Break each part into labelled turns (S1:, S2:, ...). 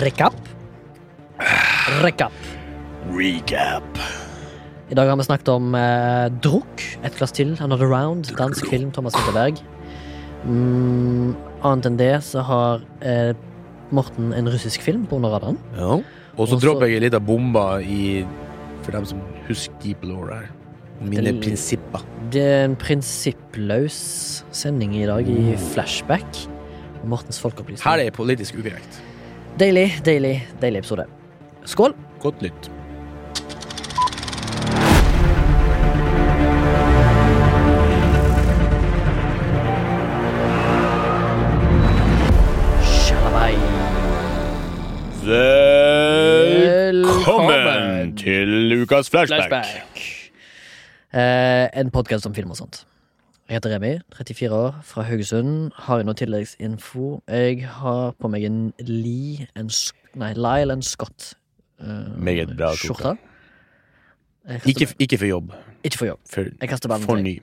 S1: Recap. Recap.
S2: Recap.
S1: I dag har vi snakket om eh, drukk, et glass til, Another Round, dansk film, Thomas Winterberg. Mm, annet enn det så har eh, Morten en russisk film på under radaren.
S2: Ja. Og så
S1: Også-
S2: dropper jeg ei lita bombe i For dem som husker Deep Law her. Mine
S1: Del-
S2: prinsipper.
S1: Det er en prinsippløs sending i dag i flashback. Og Mortens folkeopplysning.
S2: Her er politisk ukorrekt.
S1: Deilig, deilig, deilig episode. Skål!
S2: Godt nytt.
S1: Shalabei. Velkommen
S2: til ukas
S1: Eh, en podkast om film og sånt. Jeg heter Remi, 34 år, fra Haugesund. Har jeg noe tilleggsinfo? Jeg har på meg en Lee and, Sc- Nei, Lyle and Scott. eh,
S2: Meget bra, Toka.
S1: Skjorte. Jeg kaster-
S2: Ikke, ikke for jobb.
S1: ikke for jobb.
S2: For,
S1: Jeg kaster ballen
S2: for
S1: til deg.
S2: ny.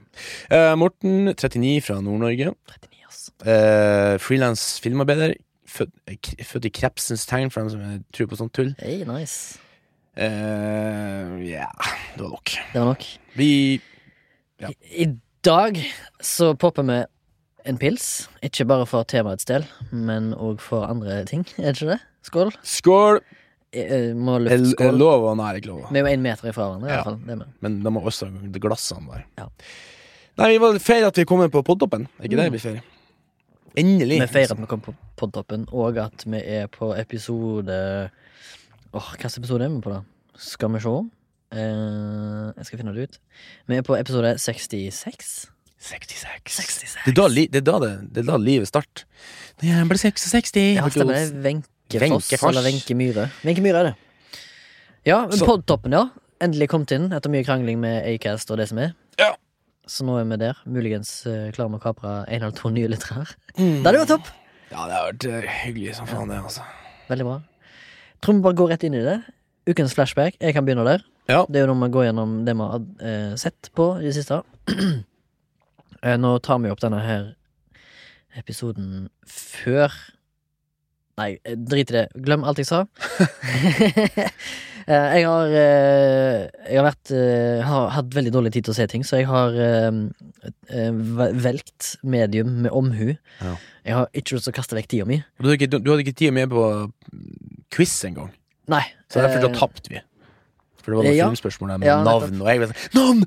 S2: Eh, Morten, 39, fra Nord-Norge.
S1: 39, ass.
S2: Uh, Frilans filmarbeider. Født, eh, k- født i krepsens tegn, for dem som eh, tror på sånt tull.
S1: Hey, nice.
S2: Eh, Ja, det var nok.
S1: Det var nok.
S2: Vi Ja.
S1: I i dag så popper vi en pils. Ikke bare for temaets del, men òg for andre ting. Er det ikke det? Skål.
S2: Skål!
S1: Jeg, jeg må
S2: Er
S1: lufte
S2: er
S1: skål.
S2: lov og nei, er ikke lov.
S1: Vi er jo én meter ifra hverandre. i
S2: Ja.
S1: alle fall. Det er vi.
S2: Men de har også de glassene der.
S1: Ja.
S2: Nei, vi var feil at vi kom inn på podtoppen. Er
S1: Mm.
S2: ikke det vi feirer? Endelig.
S1: Vi feirer at vi kom på podtoppen, og at vi er på episode Åh, hvilken episode er vi på, da? Skal vi se. Eh, jeg skal finne det ut. Vi er på episode 66.
S2: 66.
S1: 66.
S2: Det er da, li det er da, det, det er da livet starter. Når jeg ble 66
S1: Ja, stemmer det. Wenche Foss,
S2: Wenche Foss.
S1: eller Wenche Myhre. Wenche Myhre er det. Ja, men
S2: Så-
S1: podtoppen, ja. Endelig kommet inn etter mye krangling med Acast og det som er.
S2: Ja.
S1: Så nå er vi der. Muligens eh, klarer vi å kapre en eller to nye lyttere. Det hadde vært topp!
S2: Ja, det har vært eh, hyggelig som faen, det, altså.
S1: Veldig bra. Tror vi bare går rett inn i det. Ukens flashback. Jeg kan begynne der.
S2: Ja.
S1: Det er jo når man går gjennom det vi har eh, sett på i det siste. Eh, Nå tar vi opp denne her episoden før Nei, eh, drit i det. Glem alt jeg sa. Eh, jeg har eh, Jeg har vært eh, Har hatt veldig dårlig tid til å se ting, så jeg har eh, eh, vel- velgt medium med omhu.
S2: Ja.
S1: Jeg har ikke lyst til å kaste vekk tida mi.
S2: Du hadde ikke, du, du hadde ikke tid med på mm, quiz engang,
S1: Nei.
S2: så derfor da
S1: eh,
S2: tapte vi. For det var noen
S1: ja.
S2: filmspørsmål der med
S1: Ja, nettopp.
S2: navn, og jeg var sånn Navn!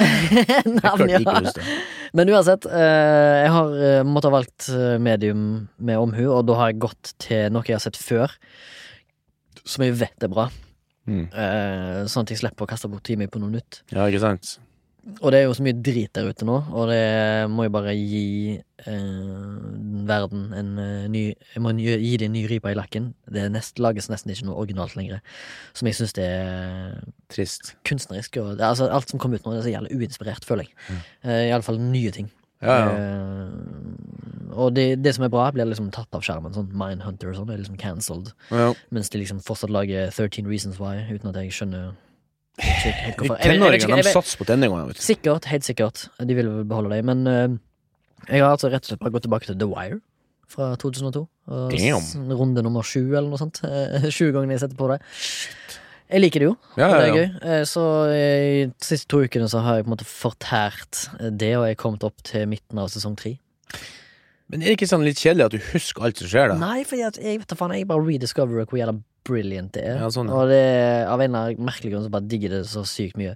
S2: Jeg
S1: Navn,
S2: klarte ikke
S1: ja.
S2: å huske det.
S1: Men uansett, eh, jeg har eh, måttet ha valgt eh, medium med omhu, og da har jeg gått til noe jeg har sett før, som jeg vet er bra.
S2: Mm.
S1: Eh, sånn at jeg slipper å kaste bort tida mi på noe nytt.
S2: Ja, ikke sant?
S1: Og det er jo så mye drit der ute nå, og det må jeg bare gi eh, verden en eh, ny Jeg må gi gi det en ny ripe i lakken. Det er nest, lages nesten ikke noe originalt lenger, som jeg syns det er
S2: Trist.
S1: kunstnerisk. Og, det- altså, alt som kom ut nå, det er så jævlig uinspirert, føler jeg. Eh, i alle Iallfall nye ting.
S2: Mm. Ja, ja.
S1: Eh, og det, det som er bra, blir liksom tatt av skjermen. Sånn Mindhunter og sånn er liksom cancelled.
S2: ja.
S1: Mens de liksom fortsatt lager 13 Reasons Why, uten at jeg skjønner ikke helt hvorfor. Jeg- jeg vet ikke-
S2: Tenåringene
S1: jeg
S2: de
S1: vet-
S2: satser på tenåringene. vet du.
S1: Sikkert, helt sikkert. De vil vel beholde det. Men eh, jeg har altså rett og slett bare gått tilbake til The Wire fra 2002. Og
S2: Damn.
S1: s- runde nummer sju, eller noe sånt. Eh, Sju ganger jeg setter på det. Jeg liker det jo. Og
S2: Ja, ja,
S1: det er
S2: ja.
S1: gøy. Eh, Så eh, de siste to ukene så har jeg på en måte fortært eh, det, og jeg er kommet opp til midten av sesong tre.
S2: Men er det ikke sånn litt kjedelig at du husker alt som skjer, da?
S1: Nei, for jeg, jeg vet da faen, jeg bare rediscoverer hvor jævla brilliant det er.
S2: Ja, sånn, ja.
S1: Og det er av en eller annen merkelig grunn så bare digger jeg det så sykt mye.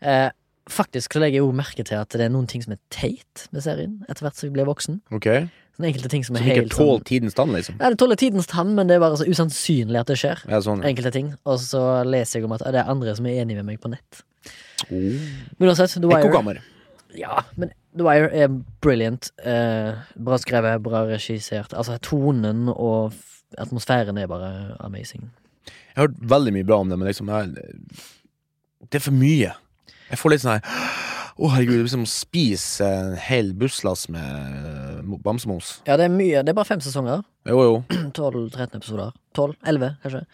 S1: Eh, faktisk så legger jeg jo merke til at det er noen ting som er teit med serien, etter hvert som jeg blir voksen.
S2: Ok
S1: Sånne enkelte ting som er
S2: Som ikke
S1: helt
S2: tåler
S1: sånn
S2: tidens tann, liksom?
S1: Nei, det tåler tidens tann, men det er bare så usannsynlig at det skjer.
S2: Ja, sånn. ja.
S1: Enkelte ting. Og så leser jeg om at ah, det er andre som er enige med meg på nett.
S2: Oh.
S1: Men uansett, The Wire
S2: Ekkokammer.
S1: Ja, men The Wire er brilliant. Eh, bra skrevet, bra regissert. Altså, tonen og f- atmosfæren er bare amazing.
S2: Jeg har hørt veldig mye bra om det, men liksom jeg, Det er for mye. Jeg får litt sånn her Å, herregud, det er som å spise en hel busslass med eh, mo- bamsemums.
S1: Ja, det er mye. Det er bare fem sesonger.
S2: Jo, jo.
S1: 12-13 episoder. 12, 11, kanskje.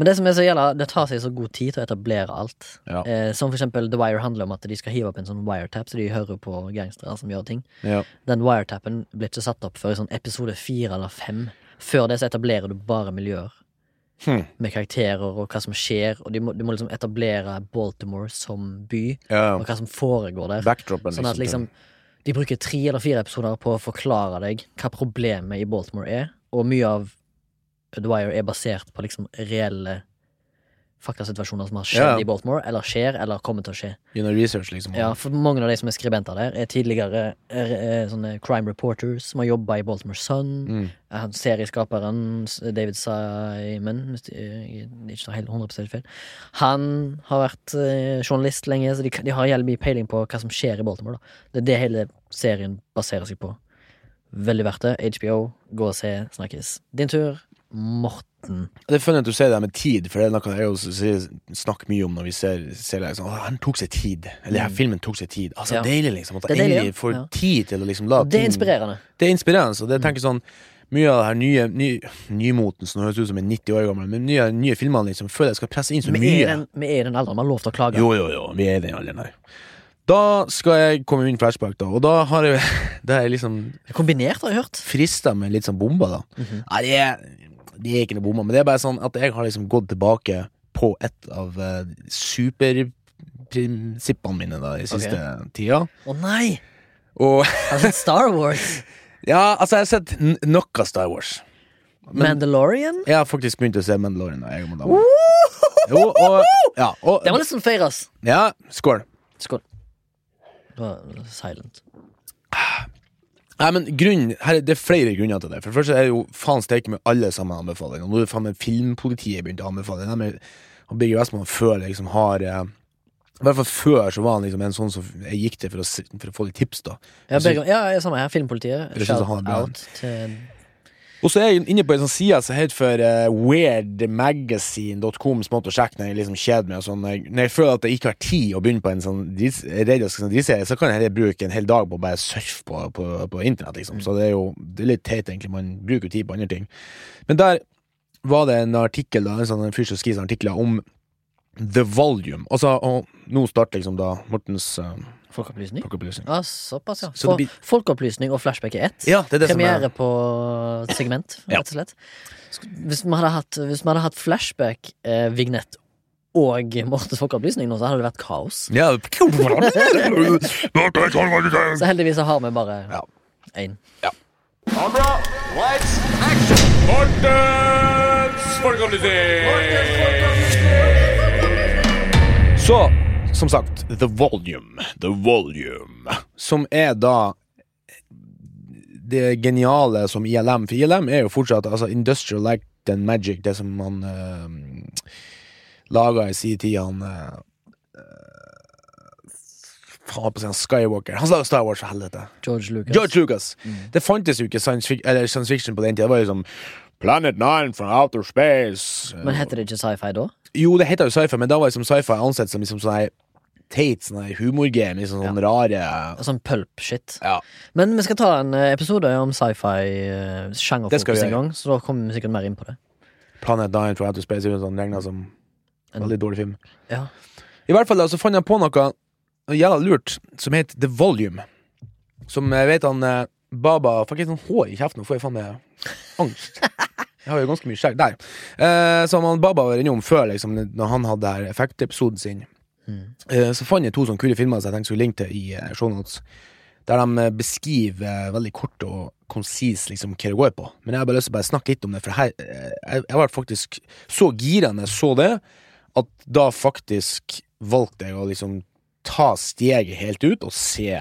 S1: Men det som er så gjelda, det tar seg så god tid til å etablere alt.
S2: Ja.
S1: Eh, som for eksempel The Wire handler om at de skal hive opp en sånn wiretap, så de hører på gangstere som gjør ting.
S2: Ja.
S1: Den wiretapen ble ikke satt opp før i sånn episode fire eller fem. Før det så etablerer du bare miljøer
S2: Hm.
S1: med karakterer og hva som skjer, og du må, du må liksom etablere Baltimore som by,
S2: Ja,
S1: og hva som foregår der.
S2: backdropen,
S1: Sånn at liksom De bruker tre eller fire episoder på å forklare deg hva problemet i Baltimore er, og mye av The Wire er basert på liksom reelle faktasituasjoner som har skjedd
S2: Ja.
S1: i Baltimore, eller skjer, eller kommer til å skje.
S2: til- Gjennom research, liksom.
S1: Ja, for mange av de som er skribenter der, er tidligere er, er, sånne crime reporters som har jobba i Baltimore Sun.
S2: Mm.
S1: Eh, han Serieskaperen s- David Simon, hvis det- eh, ikke tar helt 100 feil, han har vært eh, journalist lenge, så de, kan- de har jævlig mye peiling på hva som skjer i Baltimore. Da. Det er det hele serien baserer seg på. Veldig verdt det. HBO, gå og se, snakkes. Din tur, Morten.
S2: Det er funnet at du sier det her med tid, for det er noe jeg jo sier- snakker mye om når vi ser, ser det, sånn, «Å, han tok seg tid, eller her filmen tok seg tid. Altså,
S1: Mm. Ja.
S2: deilig, liksom. At
S1: Det
S2: jeg
S1: er deilig,
S2: endelig
S1: ja.
S2: får
S1: Ja.
S2: tid til å liksom la
S1: Det Mm. er
S2: ting-
S1: inspirerende.
S2: Det er inspirerende, så det jeg tenker sånn mye av det her nye, ny, nymoten som høres ut som en 90 år gammel, men nye, nye filmene liksom, føler jeg skal presse inn så
S1: Vi er i
S2: mye.
S1: den, vi er i den alderen, vi har lov til å klage.
S2: Jo, jo, jo, vi er i den alderen her. Da skal jeg komme med min flashback, da, og da har jeg, da er jeg liksom
S1: Kombinert, har jeg hørt.
S2: frista med litt sånn bomber, da.
S1: Mhm.
S2: Nei, det er, det er ikke noe bomber, men det er bare sånn at jeg har liksom gått tilbake på et av eh, superprinsippene mine da, i siste tida.
S1: Å nei!
S2: Og
S1: Har du sett Star Wars?
S2: ja, altså, jeg har sett n- nok av Star Wars.
S1: Mandalorian?
S2: Jeg har faktisk begynt å se Mandalorian. da, Jeg og madame. Jo, og, ja, og
S1: Det var litt sånn feires.
S2: Ja, skål.
S1: Skål. Det var silent.
S2: Nei, men grunnen, her, er- Det er flere grunner til det. For det første er det jo faen steike med alle sammen anbefalinger. Nå er det faen meg filmpolitiet begynt å anbefale. De er- og Birger Westman før liksom har eh, I hvert fall før så var han liksom en sånn som jeg gikk til for å, s- for å få litt tips, da.
S1: Ja,
S2: Jeg synes-
S1: begge, ja, ja, samme her. Filmpolitiet.
S2: Jeg Altså, synes han er
S1: Shout
S2: bra.
S1: out til
S2: Og så er jeg inne på en sånn side som heter for eh, weirdmagazine.com, som jeg måtte sjekke når jeg liksom kjeder meg. og Sånn. Når jeg- Når jeg føler at jeg ikke har tid å begynne på en sånn drits- jeg er redd jeg skal sånn drittserie, så kan jeg heller bruke en hel dag på å bare surfe på, på, på internett. liksom. Så det er jo det er litt teit, egentlig. Man bruker jo tid på andre ting. Men der var det en artikkel, da, en sånn en fyr som skriver sånne artikler om The Volume. Altså, og nå starter liksom da Mortens uh,
S1: Folkeopplysning.
S2: pakkeopplysning.
S1: Ja, såpass, ja.
S2: Så
S1: For
S2: det blir-
S1: Folkeopplysning og flashback er ett.
S2: Ja, det er det som er
S1: Premiere på segment,
S2: Ja.
S1: rett og slett. Sk- Hvis vi hadde hatt, hvis vi hadde hatt flashback, eh, vignett og Mortens folkeopplysning nå, så hadde det vært kaos.
S2: Ja.
S1: Så heldigvis så har vi bare
S2: Ja.
S1: én.
S3: Kamera, lights, action! Mortens
S2: Så, som sagt, The Volume. The Volume. Som er da det geniale som ILM For ILM er jo fortsatt altså Industrial Light and Magic, det som han uh, laga i sin tid, han eh, Faen, jeg holdt på å si han Skywalker. Han laga Star Wars, for helvete.
S1: George Lucas.
S2: George Lucas. Det fantes jo ikke science, fic eller science fiction på den tida. Det var jo som Planet Nine from Outer Space.
S1: Men heter det ikke sci-fi da?
S2: Jo, det heter jo sci-fi, men da var liksom sci-fi ansett som liksom sånn her teit sånn her humorgame. Liksom sånn rare
S1: Sånn pulp-shit.
S2: Ja.
S1: Men vi skal ta en eh, episode om
S2: Det skal vi
S1: sci-fi-sjangerfokus en
S2: gjøre.
S1: gang, så da kommer vi sikkert mer inn på det.
S2: Planet Nine fra Outer Space er jo sånn regna som en veldig dårlig film.
S1: Mm. Ja.
S2: I hvert fall da, så fant jeg på noe noe jævla lurt som het The Volume. Som jeg vet han eh, Baba Fikk jeg sånn hår i kjeften, nå får jeg faen meg angst. Jeg har jo ganske mye skjegg der. Eh, som han Baba var innom før, liksom, når han hadde her effektepisoden sin.
S1: Mm.
S2: Eh, så fant jeg to sånne kule filmer som jeg tenkte skulle linke til i eh, show notes. Der de eh, beskriver eh, veldig kort og konsis liksom, hva det går på. Men jeg har bare lyst til å bare snakke litt om det, for her, eh, jeg, jeg var faktisk så gira når jeg så det, at da faktisk valgte jeg å liksom ta steget helt ut og se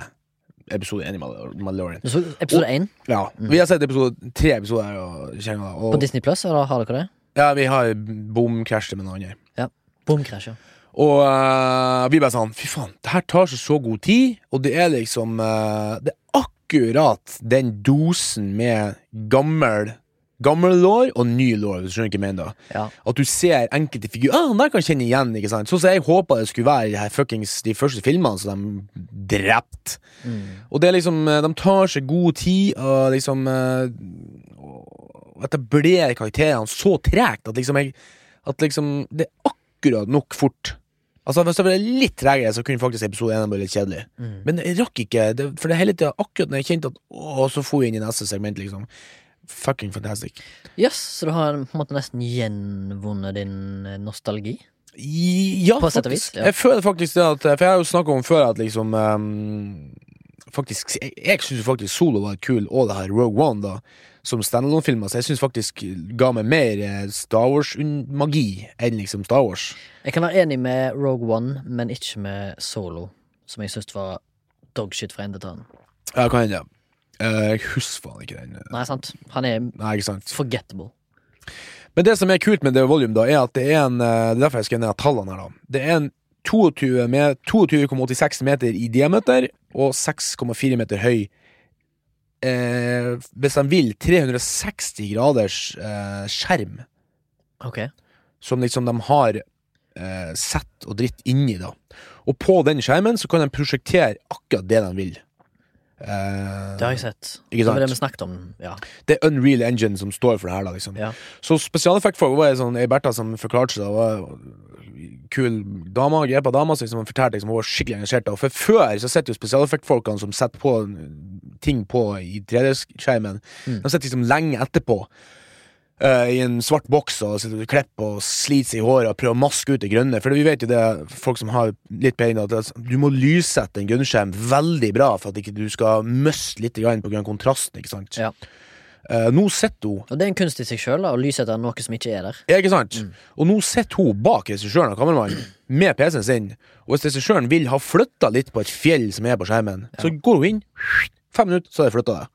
S2: episode 1 i Mandal- Mandalorian.
S1: Du så episode én
S2: Ja, Vi har sett episode, tre episoder her, og, kjenner det,
S1: Mm. på
S2: og
S1: Disney Pluss, eller har dere det?
S2: ja, vi har bomkrasjet med noen andre.
S1: Bomkrasj, ja.
S2: Og eh, vi bare sånn Fy faen, det her tar seg så god tid, og det er liksom eh, Det er akkurat den dosen med gammel Gammel lår og ny lår, hvis du skjønner hva jeg mener. da.
S1: Ja.
S2: At du ser enkelte figurer ah, han der kan jeg kjenne igjen. ikke sant? Sånn som jeg håpa det skulle være i de her fuckings de første filmene som de drepte.
S1: Mm.
S2: Og det er liksom eh, De tar seg god tid og liksom eh, og etablerer karakterene så tregt at liksom jeg At liksom Det er akkurat nok fort. Altså Hvis det var litt tregere, så kunne faktisk episode 1 vært litt kjedelig. Men jeg rakk ikke, det, for det hele tida akkurat når jeg kjente at Å, så for vi inn i neste segment, liksom. fucking fantastic.
S1: Yes, så du har på en måte nesten gjenvunnet din eh, nostalgi?
S2: I- Ja,
S1: På sett og
S2: faktisk.
S1: vis, ja.
S2: Jeg føler faktisk det at For jeg har jo snakka om før at liksom ehm, Faktisk Jeg, jeg syns faktisk Solo var kul, og det her Rogue One, da, som standalone-filmer. Så jeg syns faktisk ga meg mer eh, Star Wars-magi enn liksom Star Wars.
S1: Jeg kan være enig med Rogue One, men ikke med Solo, som jeg syns var dogshit fra ende til annen.
S2: Ja, kan hende. Eh, Jeg husker faen ikke den. eh.
S1: Nei, sant? Han er
S2: Nei, ikke sant.
S1: forgettable.
S2: Men det som er kult med det volume, da, er at det er en eh, Det er derfor jeg skrev ned tallene her, da. Det er en 22 med- 22,86 meter i diameter og 6,4 meter høy. Eh, hvis de vil, 360 graders eh, skjerm
S1: Ok.
S2: som liksom de har eh, sett og dritt inni, da. Og på den skjermen så kan de prosjektere akkurat det de vil. Eh,
S1: Det har jeg sett.
S2: Ikke
S1: Det var
S2: sant?
S1: det vi snakket om, ja.
S2: det er Unreal Engine som står for det her, da, liksom.
S1: Ja.
S2: Så spesialeffektfolk var ei sånn, ei Bertha som forklarte seg, da, var kul dame, grepa dame, så liksom, hun fortalte liksom, hun var skikkelig engasjert. Da. For før så sitter jo spesialeffektfolkene som setter på ting på i 3D-skjermen,
S1: Mm.
S2: de sitter liksom lenge etterpå. eh, I en svart boks og sitter og klipper og sliter seg i håret og prøver å maske ut det grønne. For vi vet jo det, folk som har litt peiling, at det- sånn, du må lyssette en grønnskjerm veldig bra for at ikke du skal miste litt grann på grunn av kontrasten. ikke sant?
S1: Ja.
S2: Eh, nå sitter hun
S1: Og det er en kunst i seg sjøl å lyse etter noe som ikke er der.
S2: Ja, Ikke sant?
S1: Mm.
S2: Og nå sitter hun bak regissøren og kameramannen med PC-en sin. Og hvis regissøren vil ha flytta litt på et fjell som er på skjermen, så går hun inn, fem minutter, så har de flytta det.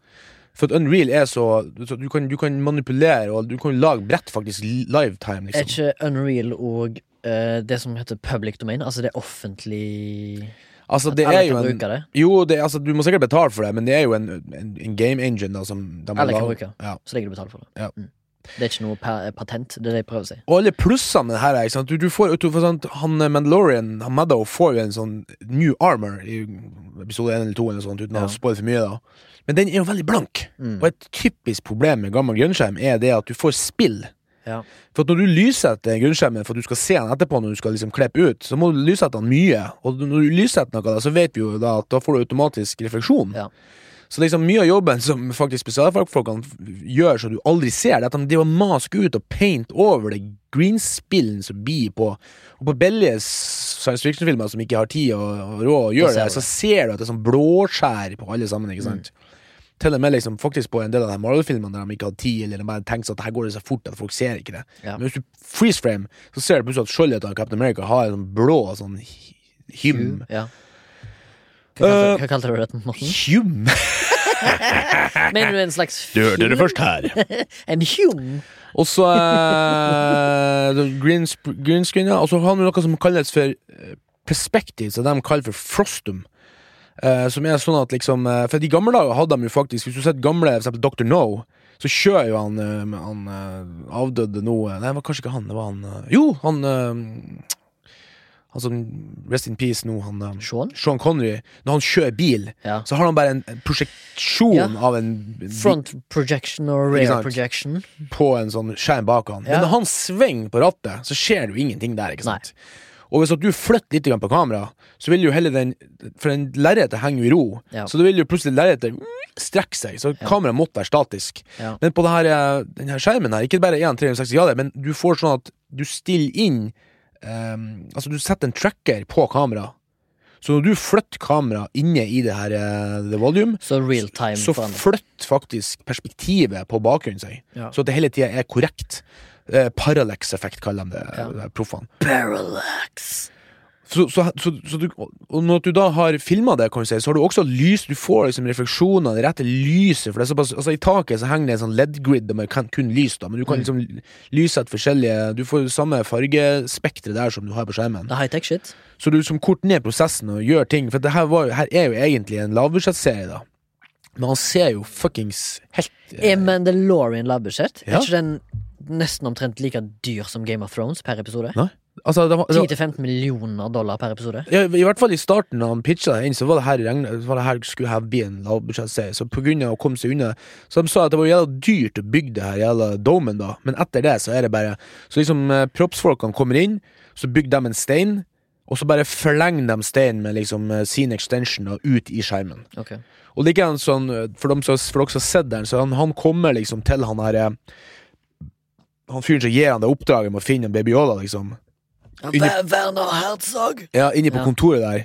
S2: For at Unreal er så, så du, kan, du kan manipulere, og du kan lage brett faktisk livetime,
S1: Er
S2: liksom.
S1: ikke Unreal og eh, det som heter public domain, altså det er offentlig
S2: Altså, det
S1: Alle
S2: er jo
S1: kan
S2: en
S1: bruke det.
S2: Jo, det, er- altså, du må sikkert betale for det, men det er jo en, en, en game engine, da, som de har
S1: Alle kan
S2: laget.
S1: bruke.
S2: Ja.
S1: Så legger du betalt for det.
S2: Ja.
S1: Mm. Det er ikke noe per, patent, det er det jeg prøver å si.
S2: Og alle plussene med det her er, ikke sant? Du, du får, du får sånn, han eh, Mandalorian, han Meadow, får jo en sånn new armor i episode 1 eller 2 eller sånt, uten
S1: Ja.
S2: å spoile for mye da. Men den er jo veldig blank.
S1: Mm.
S2: Og et typisk problem med gammel grønnskjerm er det at du får spill.
S1: Ja.
S2: For at når du lyser etter grønnskjermen for at du skal se den etterpå når du skal liksom kleppe ut, så må du lyse etter den mye. Og når du lyser etter noe da, så vet vi jo da at da får du automatisk refleksjon.
S1: Ja.
S2: Så liksom mye av jobben som faktisk spesialfolkene f- gjør så du aldri ser, det er at de driver og masker ut og paint over det greenspillen som blir på Og på billige s- science fiction-filmer som ikke har tid og, og råd å
S1: Da
S2: gjøre
S1: ser du
S2: det,
S1: Mm.
S2: så ser du at det er sånn blåskjær på alle sammen, ikke sant? Til og med liksom faktisk på en del av de Marvel-filmene der de ikke hadde tid, eller de bare tenkte sånn at her går det så fort at folk ser ikke det.
S1: Ja.
S2: Men hvis du freeze frame, så ser du plutselig at skjoldet av Captain America har en sånn blå sånn hy- hym.
S1: Ja.
S2: Eh,
S1: Hva, kalte, hva kalte du det, Morten?
S2: Hym?
S1: Mener du en slags
S2: her.
S1: En hum?
S2: Og så eh, the green, sp- green screen, ja. Og så har vi noe som kalles for eh, perspective, som de kaller for frostum. Eh, som er sånn at liksom eh, For i gamle dager hadde de jo faktisk Hvis du ser gamle, for eksempel Dr. No, så kjører jo han, eh, han eh, avdøde nå eh, Nei, det var kanskje ikke han. Det var han eh, Jo, han eh, Han som Rest in peace nå, han eh,
S1: Sean?
S2: Sean Connery. Når han kjører bil,
S1: Ja.
S2: så har han bare en, en prosjeksjon
S1: Ja.
S2: av en
S1: Front projection og
S2: Ikke
S1: rear
S2: sant.
S1: projection.
S2: på en sånn skjerm bak han.
S1: Ja.
S2: Men når han svinger på rattet, så skjer det jo ingenting der. ikke
S1: Nei.
S2: sant? Og hvis at du flytter litt grann på kamera, så vil jo heller den For den lerretet henger jo i ro,
S1: Ja.
S2: så da vil jo plutselig lerretet strekke seg. Så kameraet måtte være statisk.
S1: Ja.
S2: Men på det her, eh, den her skjermen her, ikke bare 1 360 grader, men du får sånn at du stiller inn ehm, Altså, du setter en tracker på kamera. Så når du flytter kamera inne i det her eh, the volume,
S1: Så real time
S2: så
S1: forandrer.
S2: flytter faktisk perspektivet på bakgrunnen seg.
S1: Ja.
S2: Så at det hele tida er korrekt. Eh, Parallax-effekt kaller de det,
S1: Ja.
S2: det er proffene.
S1: Parallax.
S2: Så, så, så, så du, og når du da har filma det, kan du si, så har du også lys. Du får liksom refleksjoner, det rette lyset. For det er såpass, altså I taket så henger det en sånn LED-grid med kan, kun lys, da, men
S1: Mm.
S2: du kan liksom lyse et forskjellige Du får samme fargespektre der som du har på skjermen.
S1: Det er high-tech shit.
S2: Så du liksom korter ned prosessen og gjør ting, for det her, var, jo- her er jo egentlig en lavbudsjettserie, da. Men han ser jo fuckings helt eh,
S1: Er Mandalorian lavbudsjett?
S2: Ja.
S1: Er ikke den nesten omtrent like dyr som Game of Thrones per episode?
S2: Nei. Altså, det var, det var,
S1: 10-15 millioner dollar per episode.
S2: ja, I hvert fall i starten da han pitcha det inn, så var det her, regnet, var det her skulle her bli en lavbudsjettserie. Så på grunn av å komme seg unna Så de sa at det var jævla dyrt å bygge det her jævla domen, da. Men etter det så er det bare Så liksom eh, propsfolkene kommer inn, så bygger de en stein. og så bare flenger de steinen med liksom eh, sin extension og ut i skjermen.
S1: Ok.
S2: Og det er ikke en sånn eh, For, dem som, for dere som har sett den, så han, han kommer liksom til han her eh, Han fyren som gir han det oppdraget med å finne en babyola, liksom. Ver-
S1: Werner Herzog!
S2: Ja, inne på
S1: Ja.
S2: kontoret der.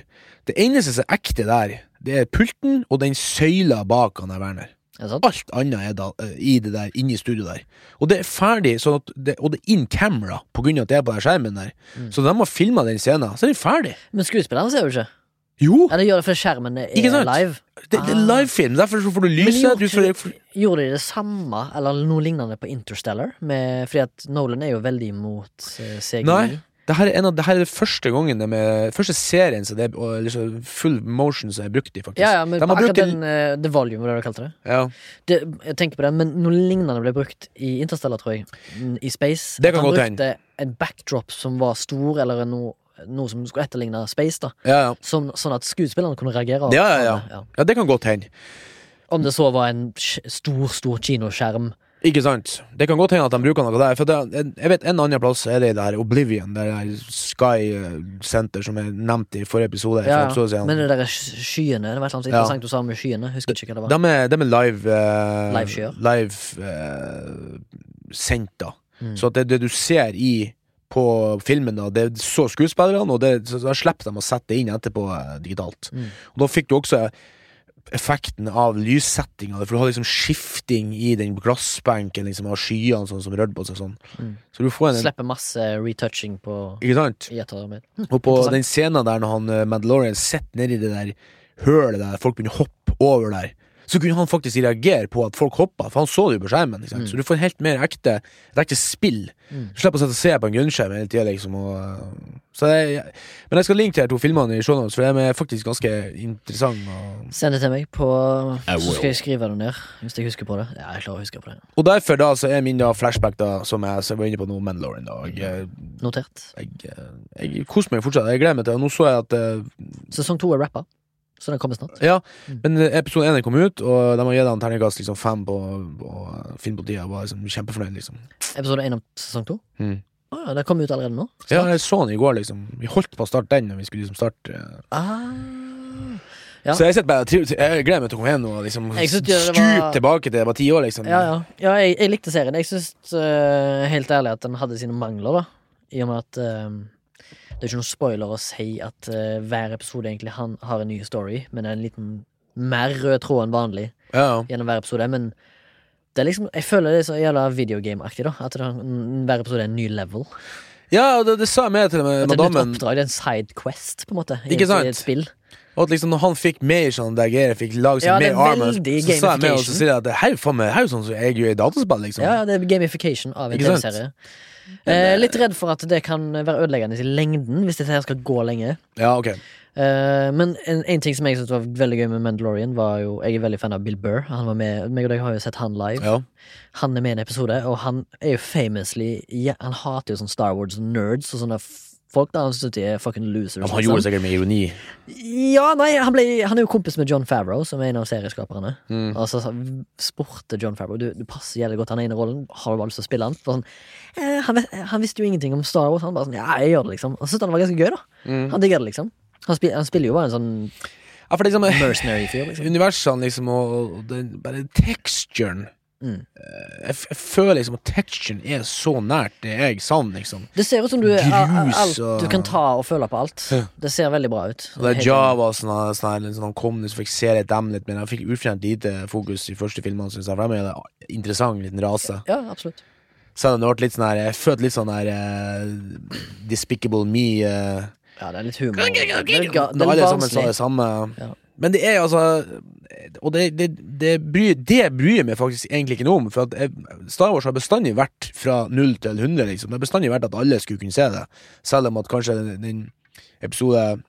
S2: Det eneste som er ekte der, det er pulten og den søyla bak han der, Werner.
S1: Er det sant?
S2: Alt annet er da eh, i det der, inni studioet der. Og det er ferdig, sånn at det, og det er in camera, på grunn av at det er på den skjermen der.
S1: Mm.
S2: Så de har filma den scenen, så er den ferdig.
S1: Men skuespillerne ser jo ikke.
S2: Jo!
S1: Eller gjør det fordi skjermen er
S2: Ikke sant?
S1: live.
S2: Det, det er
S1: Ah.
S2: livefilm, derfor så får du
S1: Men
S2: lyset. Du
S1: gjorde,
S2: får,
S1: gjorde de det samme, eller noe lignende, på Interstellar? Med, fordi at Nolan er jo veldig imot eh, CGI.
S2: Nei. Det her er, en av, det her er det første gangen de er, Første serien som det er og liksom full motion som er brukt i, faktisk.
S1: Ja, ja, men
S2: de har
S1: akkurat
S2: brukt det-
S1: den eh, The Volume, hva var det du kalte det?
S2: ja.
S1: det? Jeg tenker på det, men noe lignende ble brukt i Interstellar, tror jeg. Mm, I Space.
S2: Det kan
S1: At han
S2: godt
S1: brukte en backdrop som var stor, eller noe, noe som skulle etterligne Space, da.
S2: Ja, ja.
S1: Som, sånn at skuespillerne kunne reagere.
S2: Ja, ja, ja. ja, det kan godt hende.
S1: Om det så var en sk- stor, stor kinoskjerm.
S2: Ikke sant? Det kan godt hende at de bruker noe der. For det, jeg vet En annen plass er det i det her Oblivion, det der Sky eh, Center som jeg nevnte i forrige episode. for
S1: Ja,
S2: episode siden.
S1: men det der sk- skyene, det var et eller annet så
S2: Ja.
S1: interessant du sa med skyene. Husker ikke hva det var.
S2: De er, de er live eh,
S1: Liveskyer.
S2: live, eh, sendt, da.
S1: Mm.
S2: Så at det, det du ser i på filmen, da, det så skuespillerne, og det, så, så slipper de å sette det inn etterpå eh, digitalt.
S1: Mm.
S2: Og da fikk du også effekten av lyssettinga, for du har liksom skifting i den glassbenken liksom, av skyene sånn, som rødde på seg sånn.
S1: Mm.
S2: Så du får en
S1: Slipper masse retouching på
S2: Ikke sant?
S1: i etterarbeid.
S2: Og på
S1: Interessant.
S2: den scenen der når han eh, Mandalorian sitter nedi det der hølet der folk begynner å hoppe over der, så kunne han faktisk reagere på at folk hoppa, for han så det jo på skjermen. Ikke sant? Så du får helt mer ekte, et ekte spill.
S1: Mm.
S2: Du slipper å sette og se på en grunnskjerm hele tida, liksom. Og, eh, så jeg, men jeg skal linke til de to filmene i shownotes, for de er faktisk ganske interessante. Og,
S1: Send det til meg, på,
S2: I
S1: så
S2: will.
S1: skal jeg skrive det ned. Hvis jeg husker på det. Ja, jeg klarer å huske på det.
S2: og derfor da så er min da flashback, da, som jeg som jeg var inne på nå, Mandalorian. Da. Og, eh,
S1: Notert.
S2: jeg eh, jeg koser meg fortsatt. Jeg gleder meg til og Nå så jeg at eh,
S1: Sesong to er rappa, så den kommer snart.
S2: Ja,
S1: Mm.
S2: men eh, episode 1 kom ut, og de har gitt han terningkast liksom fem på, på Finn på tida. og Var liksom kjempefornøyd, liksom.
S1: Episode én av sesong to.
S2: Mm.
S1: Å ja, den kommer ut allerede nå?
S2: Ja, jeg så den i går, liksom. Vi holdt på å starte den når vi skulle liksom starte. eh.
S1: Ah. Ja.
S2: Så jeg sitter bare og trives- Jeg gleder meg til å komme hjem og liksom
S1: Jeg synes det var-
S2: stupe tilbake til jeg var ti år, liksom.
S1: Ja, ja. ja jeg, jeg likte serien. Jeg syns helt ærlig at den hadde sine mangler, da. I og med at eh, det er ikke noen spoiler å si at eh, hver episode egentlig han, har en ny story, men det er en liten mer rød tråd enn vanlig
S2: Ja, ja.
S1: gjennom hver episode. Men det er liksom, jeg føler det er så jævla videogame-aktig, da. At det er, mm, hver episode er en ny level.
S2: Ja, og det, det sa jeg med til
S1: At det er et nytt
S2: madammen.
S1: oppdrag, det er en side quest, på en måte. I
S2: Ikke
S1: et-
S2: sant?
S1: I et spill.
S2: Og at liksom når han fikk mer sånn der greier, fikk lage seg
S1: Ja, det
S2: mer
S1: er
S2: armor, så
S1: veldig
S2: sa jeg med og så
S1: gamification.
S2: sier jeg at det her er jo faen meg- her er jo sånn som jeg gjør i dataspill, liksom.
S1: Ja, ja, det er gamification av en
S2: Ikke sant?
S1: TV-serie. Eh, litt redd for at det kan være ødeleggende i lengden, hvis dette her skal gå lenge.
S2: ja ok.
S1: Eh, men en, en ting som jeg syntes var veldig gøy med Mandalorian, var jo Jeg er veldig fan av Bill Burr. Han var med, meg og deg har jo sett han live.
S2: Ja.
S1: Han er med i en episode, og han er jo famously ja, Han hater jo sånn Star Wars-nerds og sånne f- folk. da Han synes de er fucking losers.
S2: Men han
S1: liksom.
S2: gjorde det sikkert med ironi.
S1: Ja, nei, han, ble, han er jo kompis med John Favreau, som er en av serieskaperne.
S2: Mm.
S1: Og så sa- spurte John Favreau Du, du passer jævlig godt han er inne i rollen. Har du bare lyst til å spille han? For sånn, eh, han, vet- han visste jo ingenting om Star Wars. Han bare sånn, ja, jeg gjør det liksom Og så syntes han det var ganske gøy, da.
S2: Mm.
S1: Han digger det, liksom. Han, spil, han spiller jo bare en sånn
S2: Ja, for liksom,
S1: mercenary-fyr, liksom.
S2: universene liksom og, og den, bare texturen
S1: Mm.
S2: Eh, jeg, f- jeg føler liksom at texturen er så nært det jeg savner, liksom.
S1: Det ser ut som du er
S2: Grus
S1: a- a- alt
S2: og-
S1: Du kan ta og føle på alt.
S2: Ja.
S1: Det ser veldig bra ut.
S2: Og det
S1: Helt
S2: er Java og sånn her- sånn her, liksom, han kom ned, så fikk se litt dem litt, men jeg fikk utfjernet lite fokus i første filmene, synes jeg, for de er en interessant liten rase.
S1: enig. Ja, absolutt.
S2: Selv om det ble litt sånn her, jeg følte litt sånn her eh, Despicable Me eh,
S1: Ja, det er litt humor. Det er, litt ga- det
S2: Når
S1: er
S2: alle
S1: litt
S2: sammen sa
S1: barnslig.
S2: det samme.
S1: Ja.
S2: Men det er altså Og det, det, det, bryr, det bryr jeg meg faktisk egentlig ikke noe om. For at jeg, Star Wars har bestandig vært fra null til 100. Liksom. Det har bestandig vært at alle skulle kunne se det. Selv om at kanskje den, den episode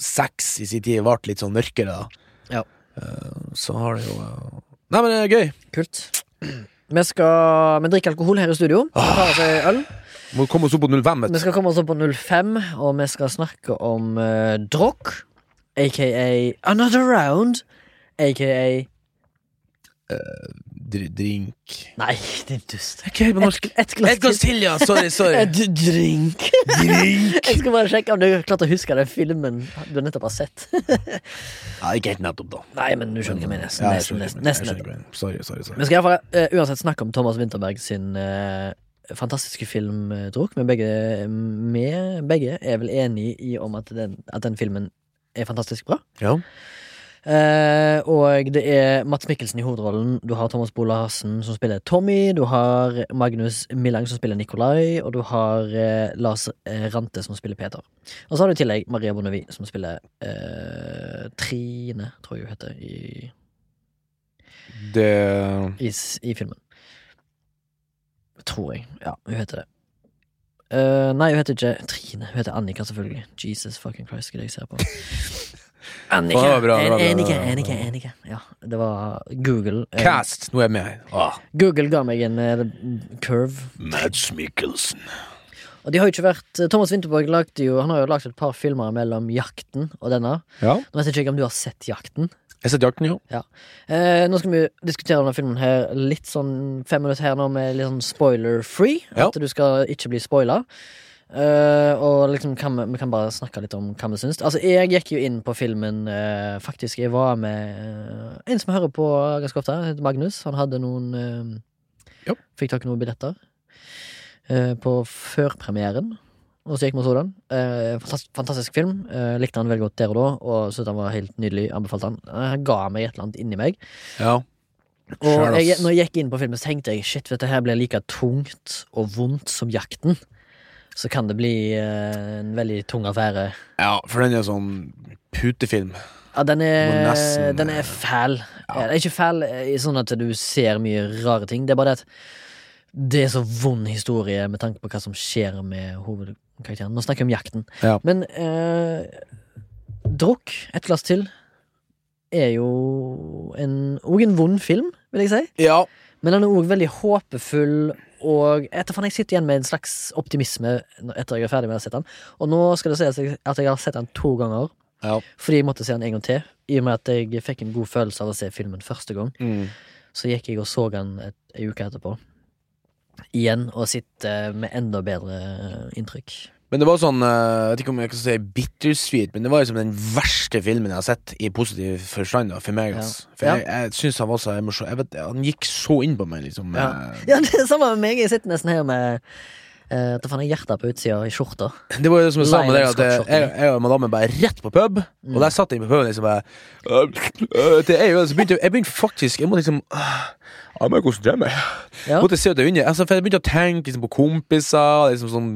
S2: seks i sin tid ble litt sånn mørkere, da.
S1: Ja.
S2: Eh, så har det jo eh, Nei, men det er gøy.
S1: Kult. Vi skal Vi drikker alkohol her i studio. Vi
S2: Ah.
S1: tar oss en øl.
S2: Må komme oss opp på 05, vet
S1: Vi
S2: du.
S1: skal komme oss opp på 05, og vi skal snakke om uh, drokk, aka Another Round, aka
S2: dr drink
S1: Nei, din dust.
S2: Ok, på norsk.
S1: Et glass
S2: Et glass til, ja! Sorry, sorry.
S1: Et drink.
S2: Drink!
S1: Jeg skal bare sjekke om du klarte å huske den filmen du nettopp har sett.
S2: Ja, ikke helt nettopp, da.
S1: Nei, men du skjønner hva jeg mener. Nesten,
S2: Ja, jeg
S1: nesten,
S2: skjønner
S1: nesten,
S2: hva jeg
S1: nesten,
S2: mener. Jeg skjønner hva jeg mener. Sorry, sorry, sorry.
S1: Vi skal i hvert fall eh, uansett snakke om Thomas Winterberg sin eh, fantastiske film eh, Druk. Men begge, mm, vi begge er vel enige i om at den, at den filmen er fantastisk bra.
S2: Ja.
S1: Eh, og det er Mats Mikkelsen i hovedrollen. Du har Thomas Bola Hassen som spiller Tommy. Du har Magnus Millang som spiller Nikolai. Og du har eh, Lars eh, Rante som spiller Peter. Og så har du i tillegg Maria Bonnevie som spiller eh, Trine, tror jeg hun heter, i,
S2: Det
S1: i, s- i filmen. Tror jeg. Ja, hun heter det. Eh, nei, hun heter ikke Trine. Hun heter Annika, selvfølgelig. Jesus fucking Christ, skal jeg se på. Annika,
S2: Ja, det var bra, det var bra, det var
S1: Annika,
S2: bra.
S1: Annika, Annika. Ja, det var Google. eh,
S2: Cast! Nå er jeg med. Ah.
S1: Google ga meg en eh, curve.
S2: Mads Mikkelsen.
S1: Og de har jo ikke vært eh, Thomas Winterborg lagde jo, han har jo lagt et par filmer mellom Jakten og denne.
S2: Ja.
S1: Nå vet jeg ikke om du har sett Jakten.
S2: Jeg setter jakten, jo.
S1: Eh, nå skal vi diskutere denne filmen her litt sånn fem minutter her nå med litt sånn spoiler-free.
S2: Ja.
S1: At du skal ikke bli spoila. Eh, og liksom kan vi, vi kan bare snakke litt om hva vi syns. Altså, jeg gikk jo inn på filmen eh, Faktisk, jeg var med eh, en som jeg hører på ganske ofte, han heter Magnus. Han hadde noen eh,
S2: Ja.
S1: Fikk tak i noen billetter eh, på førpremieren. Og så gikk vi og så den. Eh, fantastisk, fantastisk film. Eh, likte han veldig godt der og da, og syntes han var helt nydelig. Anbefalte han. Eh, Han ga meg et eller annet inni meg.
S2: Ja. Sure,
S1: Og jeg,
S2: ass.
S1: når jeg gikk inn på filmen, så tenkte jeg shit, dette her blir like tungt og vondt som Jakten. Så kan det bli eh, en veldig tung affære.
S2: ja, for den er sånn putefilm.
S1: Ja, den
S2: Må
S1: er,
S2: nesten,
S1: den er fæl. Eh, Ikke fæl eh, i sånn at du ser mye rare ting. Det er bare det at det er så vond historie med tanke på hva som skjer med hovedkarakteren. Nå snakker jeg om jakten.
S2: Ja.
S1: Men eh, Drukk, et glass til, er jo en, og en vond film, vil jeg si.
S2: Ja.
S1: Men den er òg veldig håpefull, og etter faen, jeg sitter igjen med en slags optimisme etter jeg er ferdig med å ha sett den. Og nå skal det sies at jeg har sett den to ganger.
S2: Ja.
S1: Fordi jeg måtte se den en gang til, i og med at jeg fikk en god følelse av å se filmen første gang.
S2: Mm.
S1: Så gikk jeg og så den et, en uke etterpå. Igjen, og sitter med enda bedre inntrykk.
S2: Men det var sånn eh, Jeg vet ikke om jeg kan si bittersweet, men det var liksom den verste filmen jeg har sett i positiv forstand da, for meg.
S1: Ja.
S2: ass. For
S1: Ja.
S2: jeg, jeg syns han var så emosjonell. Jeg vet, Han gikk så inn på meg, liksom.
S1: Ja.
S2: Eh,
S1: Ja, det er samme med meg. Jeg sitter nesten her med eh, hva faen er hjertet på utsida i skjorta.
S2: Det var jo det som jeg sa
S1: Lionel
S2: med det, at
S1: Scott-shotten.
S2: jeg, jeg og madammen bare rett på pub, og der satt jeg på puben liksom bare øh, øh, Det er jo det, så begynte jeg- Jeg begynte faktisk Jeg må liksom øh, Jeg må konsentrere meg.
S1: Ja.
S2: Måtte se ut av vinduet. Altså, for jeg begynte å tenke liksom, på kompiser, liksom sånn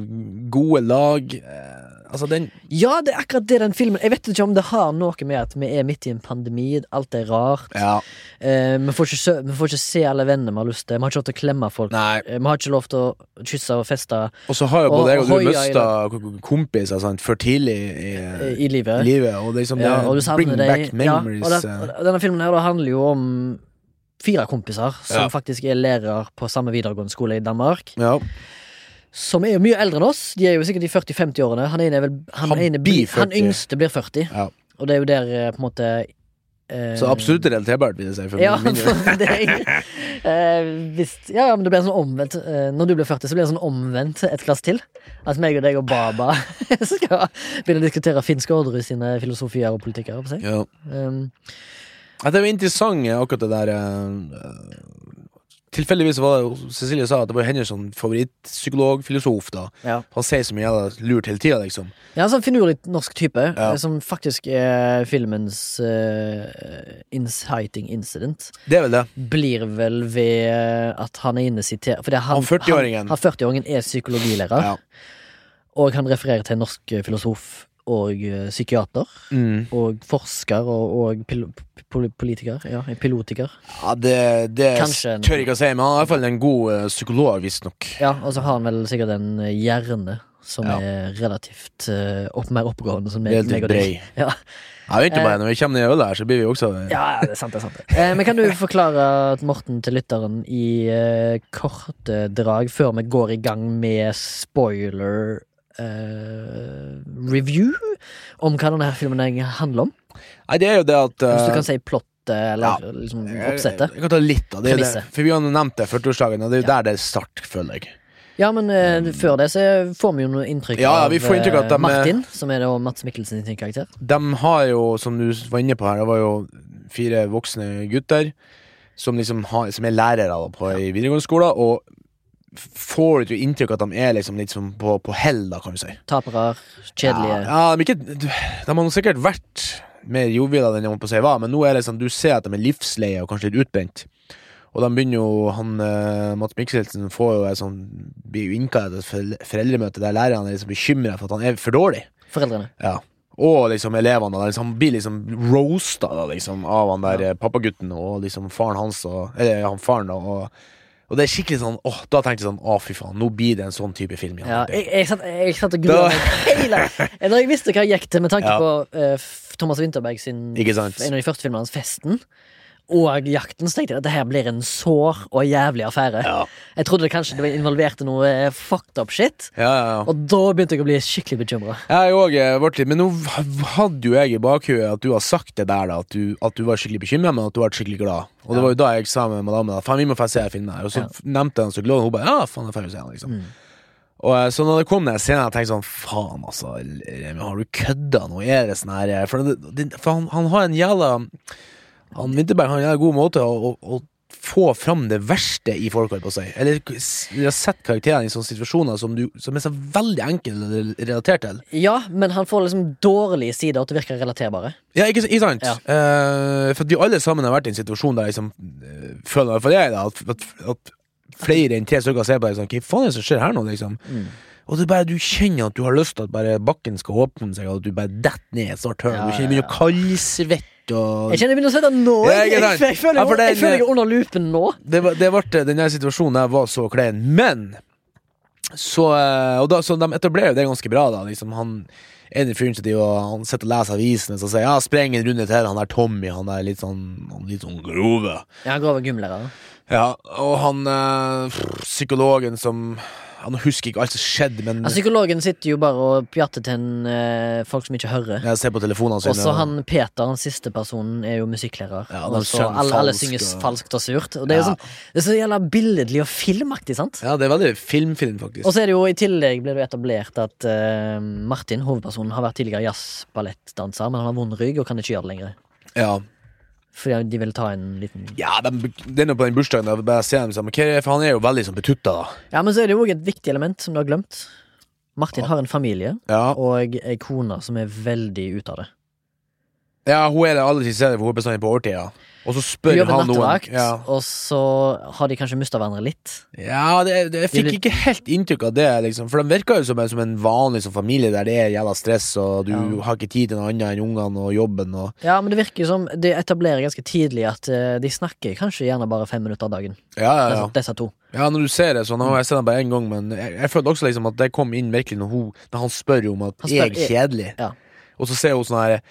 S2: gode lag eh, Altså, den
S1: Ja, det er akkurat det den filmen Jeg vet ikke om det har noe med at vi er midt i en pandemi, alt er rart.
S2: Ja.
S1: Eh, vi, får ikke, sø- vi får ikke se alle vennene vi har lyst til. Vi har ikke lov til å klemme folk.
S2: Nei.
S1: Eh, Vi har ikke lov til å kysse og feste
S2: Og så har jo
S1: Og-
S2: både jeg og
S1: og
S2: du
S1: Hoia
S2: mista kompiser sant, for tidlig i,
S1: eh,
S2: i
S1: i livet.
S2: livet, og det er liksom
S1: Ja, og du
S2: det, Bring
S1: savner
S2: back
S1: deg. Ja, og,
S2: memories.
S1: den,
S2: eh.
S1: og denne filmen her da handler jo om fire kompiser som
S2: Ja.
S1: faktisk er lærere på samme videregående skole i Danmark.
S2: ja.
S1: Som er jo mye eldre enn oss. De er jo sikkert i 40-50-årene. Han, ene er vel- han,
S2: Han
S1: ene
S2: blir
S1: blir- han
S2: 40.
S1: yngste blir 40.
S2: Ja.
S1: Og det er jo der eh, på en måte eh,
S2: Så absolutt relaterbart, vil jeg si. For
S1: Ja,
S2: min del.
S1: for det er, eh, visst. Ja, ja, men det blir en sånn omvendt eh, Når du blir 40, så blir det en sånn omvendt et glass til. At meg og deg og Baba skal begynne å diskutere finske Orderud sine filosofier og politikker. holdt jeg på å si.
S2: ja.
S1: Um,
S2: Ja, det var interessant eh, akkurat det der eh, eh, Tilfeldigvis var det jo- Cecilie sa at det var hennes sånn favorittpsykolog-filosof. da
S1: Ja.
S2: Han sier så mye jævla lurt hele tida, liksom.
S1: Ja, en sånn finurlig norsk type,
S2: Ja.
S1: eh, som faktisk er filmens eh, inciting incident.
S2: Det er vel det.
S1: Blir vel ved at han er inne sitert Fordi han,
S2: Han 40-åringen.
S1: han, han 40-åringen er psykologilærer,
S2: Ja.
S1: og han refererer til en norsk eh, filosof og eh, psykiater.
S2: Mm.
S1: Og forsker og, og pil, pol, politiker. Ja, en pilotiker.
S2: ja det det
S1: Kanskje en-
S2: tør jeg ikke å si, men han er i hvert fall en god eh, psykolog, visstnok.
S1: Ja, og så har han vel sikkert en eh, hjerne som
S2: Ja.
S1: er relativt eh, opp, mer oppegående. Som meg, meg
S2: Relativt
S1: og deg.
S2: brei.
S1: Ja. Eh,
S2: Jeg venter bare, når vi kommer ned i ølet her, så blir vi også
S1: Ja, ja, det er sant, det er sant. Eh, men kan du forklare Morten til lytteren i eh, korte drag før vi går i gang med spoiler eh, review om hva denne her filmen egentlig handler om?
S2: Nei, det er jo det at
S1: Hvis du
S2: eh,
S1: kan si plott plottet eller liksom oppsettet.
S2: Jeg kan ta litt av det, det.
S1: Premisset.
S2: For vi har jo nevnt det, 40-årsdagen, og det er jo der det er start, føler jeg.
S1: Ja, men eh, før det så får vi jo noe inntrykk
S2: Ja, ja, vi får
S1: eh,
S2: inntrykk av at de er-
S1: Martin, som er da Mats Mikkelsen sin karakter.
S2: De har jo, som du var inne på her, det var jo fire voksne gutter som liksom har, som er lærere da, på i videregående skole, og f- får du jo inntrykk av at de er liksom litt som på, på hell, da, kan du si.
S1: Tapere, kjedelige.
S2: Ja, ja, de, er ikke, de har nå sikkert vært mer joviale enn jeg holdt på å si var, men nå er det sånn, du ser at de er livsleie og kanskje litt utbrent. Og de begynner jo, han eh, Mats Mikkelsen får jo en sånn, blir jo innkalt til et forel- foreldremøte der læreren er liksom bekymra for at han er for dårlig.
S1: Foreldrene.
S2: Ja. Og liksom elevene. da, Liksom, han blir liksom roasta da, liksom, av han der eh, pappagutten og liksom faren hans. Og, eller han faren da, og, og det er skikkelig sånn åh, Da tenkte jeg sånn Å, fy faen, nå blir det en sånn type film. igjen.
S1: Ja,
S2: Det-
S1: jeg, jeg, satt, jeg satt og grua
S2: Da-
S1: meg hele Når jeg visste hva jeg gikk til med tanke
S2: Ja.
S1: på eh, f- Thomas Winterberg sin
S2: Ikke sant?
S1: En av de første filmene hans, Festen og Jakten, så tenkte jeg at det her blir en sår og jævlig affære.
S2: Ja.
S1: Jeg trodde det kanskje det var involverte noe eh, fucked up shit,
S2: Ja, ja, ja.
S1: og da begynte jeg å bli skikkelig bekymra.
S2: Jeg òg ble litt eh, Men nå v- hadde jo jeg i bakhuet at du har sagt det der, da. At du, at du var skikkelig bekymra, men at du ble skikkelig glad. Og det var jo da jeg sa med madammen at faen, vi må få se filmen her. Og så
S1: Ja.
S2: f- nevnte jeg den så glad, og hun bare ja, faen, jeg får jo se den, liksom. Og eh, Så når det kom den scenen, jeg tenkte sånn faen, altså, Remi, har du kødda nå? Er det sånn her eh, For, det, det, for han, han har en jævla Han Winterberg har en jævla god måte å, å, å få fram det verste i folk, holdt på å si. Eller s- vi har sett karakterene i sånne situasjoner som, du, som er så veldig enkle å relatere til.
S1: Ja, men han får liksom dårlige sider til å virke relaterbare.
S2: Ja, ikke, ikke sant?
S1: Ja.
S2: Eh, for at vi alle sammen har vært i en situasjon der liksom, eh, føler i hvert fall jeg da, at, at, at flere enn tre stykker ser på deg sånn Hva faen er det som skjer her nå? liksom?
S1: Mm.
S2: Og det er bare du kjenner at du har lyst til at bare bakken skal åpne seg, og at du bare detter ned i et svart hull.
S1: Ja,
S2: du kjenner
S1: ja,
S2: begynner å kaldsvette og
S1: Jeg kjenner jeg begynner å se det nå.
S2: Ja,
S1: Jeg,
S2: ikke
S1: jeg, jeg,
S2: sant?
S1: føler
S2: Ja,
S1: jeg,
S2: for eh, det er
S1: jeg føler jeg
S2: en-
S1: er under loopen nå.
S2: det var, det ble, den her situasjonen der var så klein, men så, eh, og da, så de etablerer jo det ganske bra, da. Liksom, han en i fyren som driver og- han sitter og leser avisene og sier ja, spreng en runde til, han der Tommy, han er litt sånn, han er litt sånn grove.
S1: Ja, han grove gymlærer.
S2: Ja, og han eh, pff, psykologen som Han husker ikke alt som skjedde,
S1: Ja,
S2: men
S1: Altså, psykologen sitter jo bare og pjatter til en, eh, folk som ikke hører.
S2: jeg ser på telefonene sine.
S1: Og så han Peter, han siste personen, er jo musikklærer.
S2: Ja, de
S1: og så
S2: synger
S1: alle, alle
S2: falsk,
S1: synger
S2: og-
S1: falskt og surt. Og det er jo
S2: Ja.
S1: sånn, det er så jævla billedlig og filmaktig, sant?
S2: Ja, det er veldig filmfilm, faktisk.
S1: Og så er det jo i tillegg ble det jo etablert at eh, Martin, hovedpersonen, har vært tidligere jazzballettdanser, men han har vond rygg og kan ikke gjøre det lenger.
S2: ja.
S1: Fordi de vil ta en liten
S2: ja de, det er nå på den bursdagen da bare ser dem sammen. Hva er- For han er jo veldig sånn betutta, da.
S1: Ja, men så er det jo òg et viktig element som du har glemt. Martin har en familie
S2: Ja.
S1: og ei kone som er veldig ute av det.
S2: Ja, hun er det alle som ser det, for hun er bestandig på overtida. Og så
S1: Hun
S2: spør
S1: jobber
S2: han noen
S1: nattevakt,
S2: ja.
S1: og så har de kanskje mista hverandre litt.
S2: ja, det, det, jeg
S1: Det er
S2: fikk
S1: litt-
S2: ikke helt inntrykk av det, liksom. For de virker jo som en, som en vanlig sånn familie der det er jævla stress, og du
S1: Ja.
S2: har ikke tid til noe annet enn ungene og jobben og
S1: Ja, men det virker jo som De etablerer ganske tidlig at eh, de snakker kanskje gjerne bare fem minutter av dagen.
S2: Ja, ja, ja.
S1: Altså, Disse to.
S2: ja når du ser det sånn, og jeg ser det bare én gang, men jeg, jeg følte også liksom at det kom inn virkelig når hun Når han spør om at
S1: Han spør-
S2: jeg er kjedelig,
S1: Ja.
S2: og så ser hun sånn her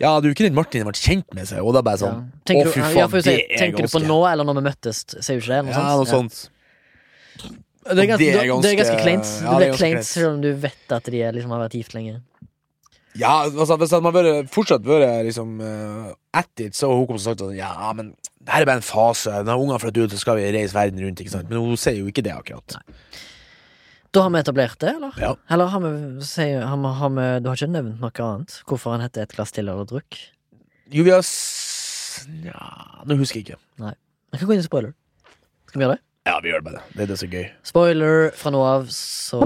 S2: Ja, du er jo ikke den Martin har vært kjent med seg, og da bare
S1: Ja.
S2: sånn Å,
S1: Tenker,
S2: fy
S1: du,
S2: faen,
S1: ja, for å si,
S2: det er
S1: tenker du på sånn?
S2: ganske
S1: nå eller når vi møttes? Sier jo ikke det? Noe
S2: Ja,
S1: sånt?
S2: noe sånt.
S1: Ja. Det er ganske,
S2: Det er
S1: det er ganske
S2: ganske-
S1: kleint. det
S2: ja, det
S1: blir
S2: er ganske
S1: kleint
S2: kleint.
S1: selv om du vet at de er- liksom har vært gift lenge.
S2: Ja, altså hvis han hadde vært- fortsatt vært liksom eh, at it, så hadde hun kommet og sagt sånn Ja, men det her er bare en fase. Når ungene flytter ut, så skal vi reise verden rundt. ikke sant? Men hun sier jo ikke det, akkurat.
S1: Da har vi etablert det, eller?
S2: Ja.
S1: Eller har vi, sier, har vi, har vi, Du har ikke nevnt noe annet? Hvorfor han heter Et glass til eller drukk?
S2: Jo, vi har s... Nja, nå husker jeg ikke.
S1: Jeg kan gå inn i spoiler. Skal vi gjøre det?
S2: Ja, vi gjør det bare. Det er det som er gøy.
S1: Spoiler fra nå av, så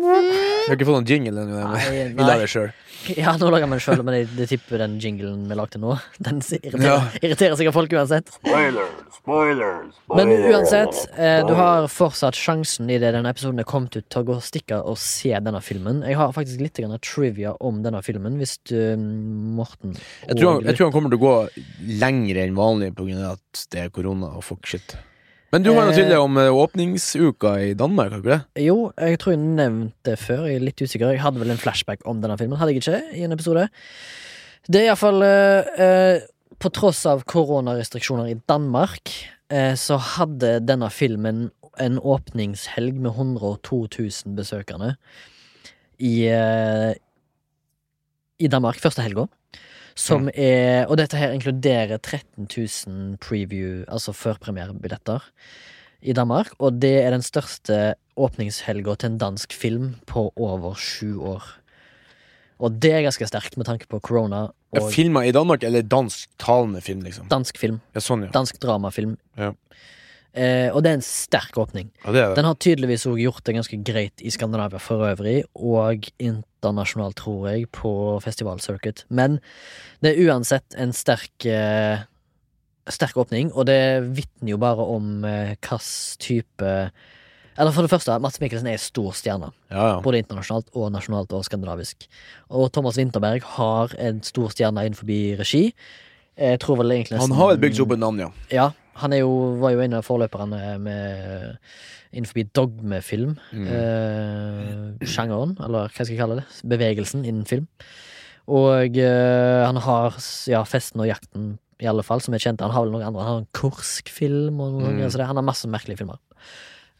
S2: Vi har ikke fått noen jingle ennå. men
S1: Nei,
S2: Vi lar
S1: nei.
S2: det sjøl.
S1: Ja, nå lager vi den sjøl, men jeg, jeg tipper den jinglen vi lagde nå, den s- irriterer,
S2: Ja.
S1: irriterer sikkert folk uansett.
S3: Spoilers, spoilers,
S1: Men
S3: spoilers.
S1: uansett, eh, du har fortsatt sjansen i det denne episoden er kommet ut til å gå og stikke og se denne filmen. Jeg har faktisk litt grann trivia om denne filmen, hvis du, mm, Morten
S2: Jeg tror, han,
S1: og-
S2: jeg tror han kommer til å gå lenger enn vanlig pga. at det er korona og fuck shit. Men du har noe
S1: Eh.
S2: tydelig om eh, åpningsuka i Danmark, har du ikke det?
S1: Jo, jeg tror jeg nevnte det før. Jeg er litt usikker. Jeg hadde vel en flashback om denne filmen. Hadde jeg ikke i en episode? Det er iallfall eh, På tross av koronarestriksjoner i Danmark, eh, så hadde denne filmen en åpningshelg med 102 000 besøkende i, eh, i Danmark første helga. Som er Og dette her inkluderer 13 000 preview, altså førpremierebilletter, i Danmark. Og det er den største åpningshelga til en dansk film på over sju år. Og det er ganske sterkt med tanke på korona
S2: Ja,
S1: og
S2: filmer i Danmark, eller dansktalende film, liksom?
S1: dansk film.
S2: Ja, sånn, ja.
S1: Dansk dramafilm.
S2: Ja.
S1: Eh, og det er en sterk åpning.
S2: ja det er det.
S1: Den har tydeligvis òg gjort det ganske greit i Skandinavia for øvrig, og internasjonalt, tror jeg, på festivalcircuit. Men det er uansett en sterk eh, Sterk åpning, og det vitner jo bare om eh, hvilken type Eller for det første, Mats Mikkelsen er en stor stjerne,
S2: Ja, ja.
S1: både internasjonalt og nasjonalt og skandinavisk. Og Thomas Winterberg har en stor stjerne innenfor regi. Jeg tror vel egentlig
S2: Han
S1: nesten-
S2: har vel bygd seg opp et navn, ja.
S1: ja, han er jo, var jo en av forløperne med, innenfor dogmefilm. Eh, sjangeren, eller hva skal jeg kalle det? Bevegelsen innen film. Og eh, han har s- ja, Festen og jakten, i alle fall, som er kjente. Han har vel noen andre. Han har en Kursk-film og noen
S2: Mm.
S1: greier. Så det, han har masse merkelige filmer.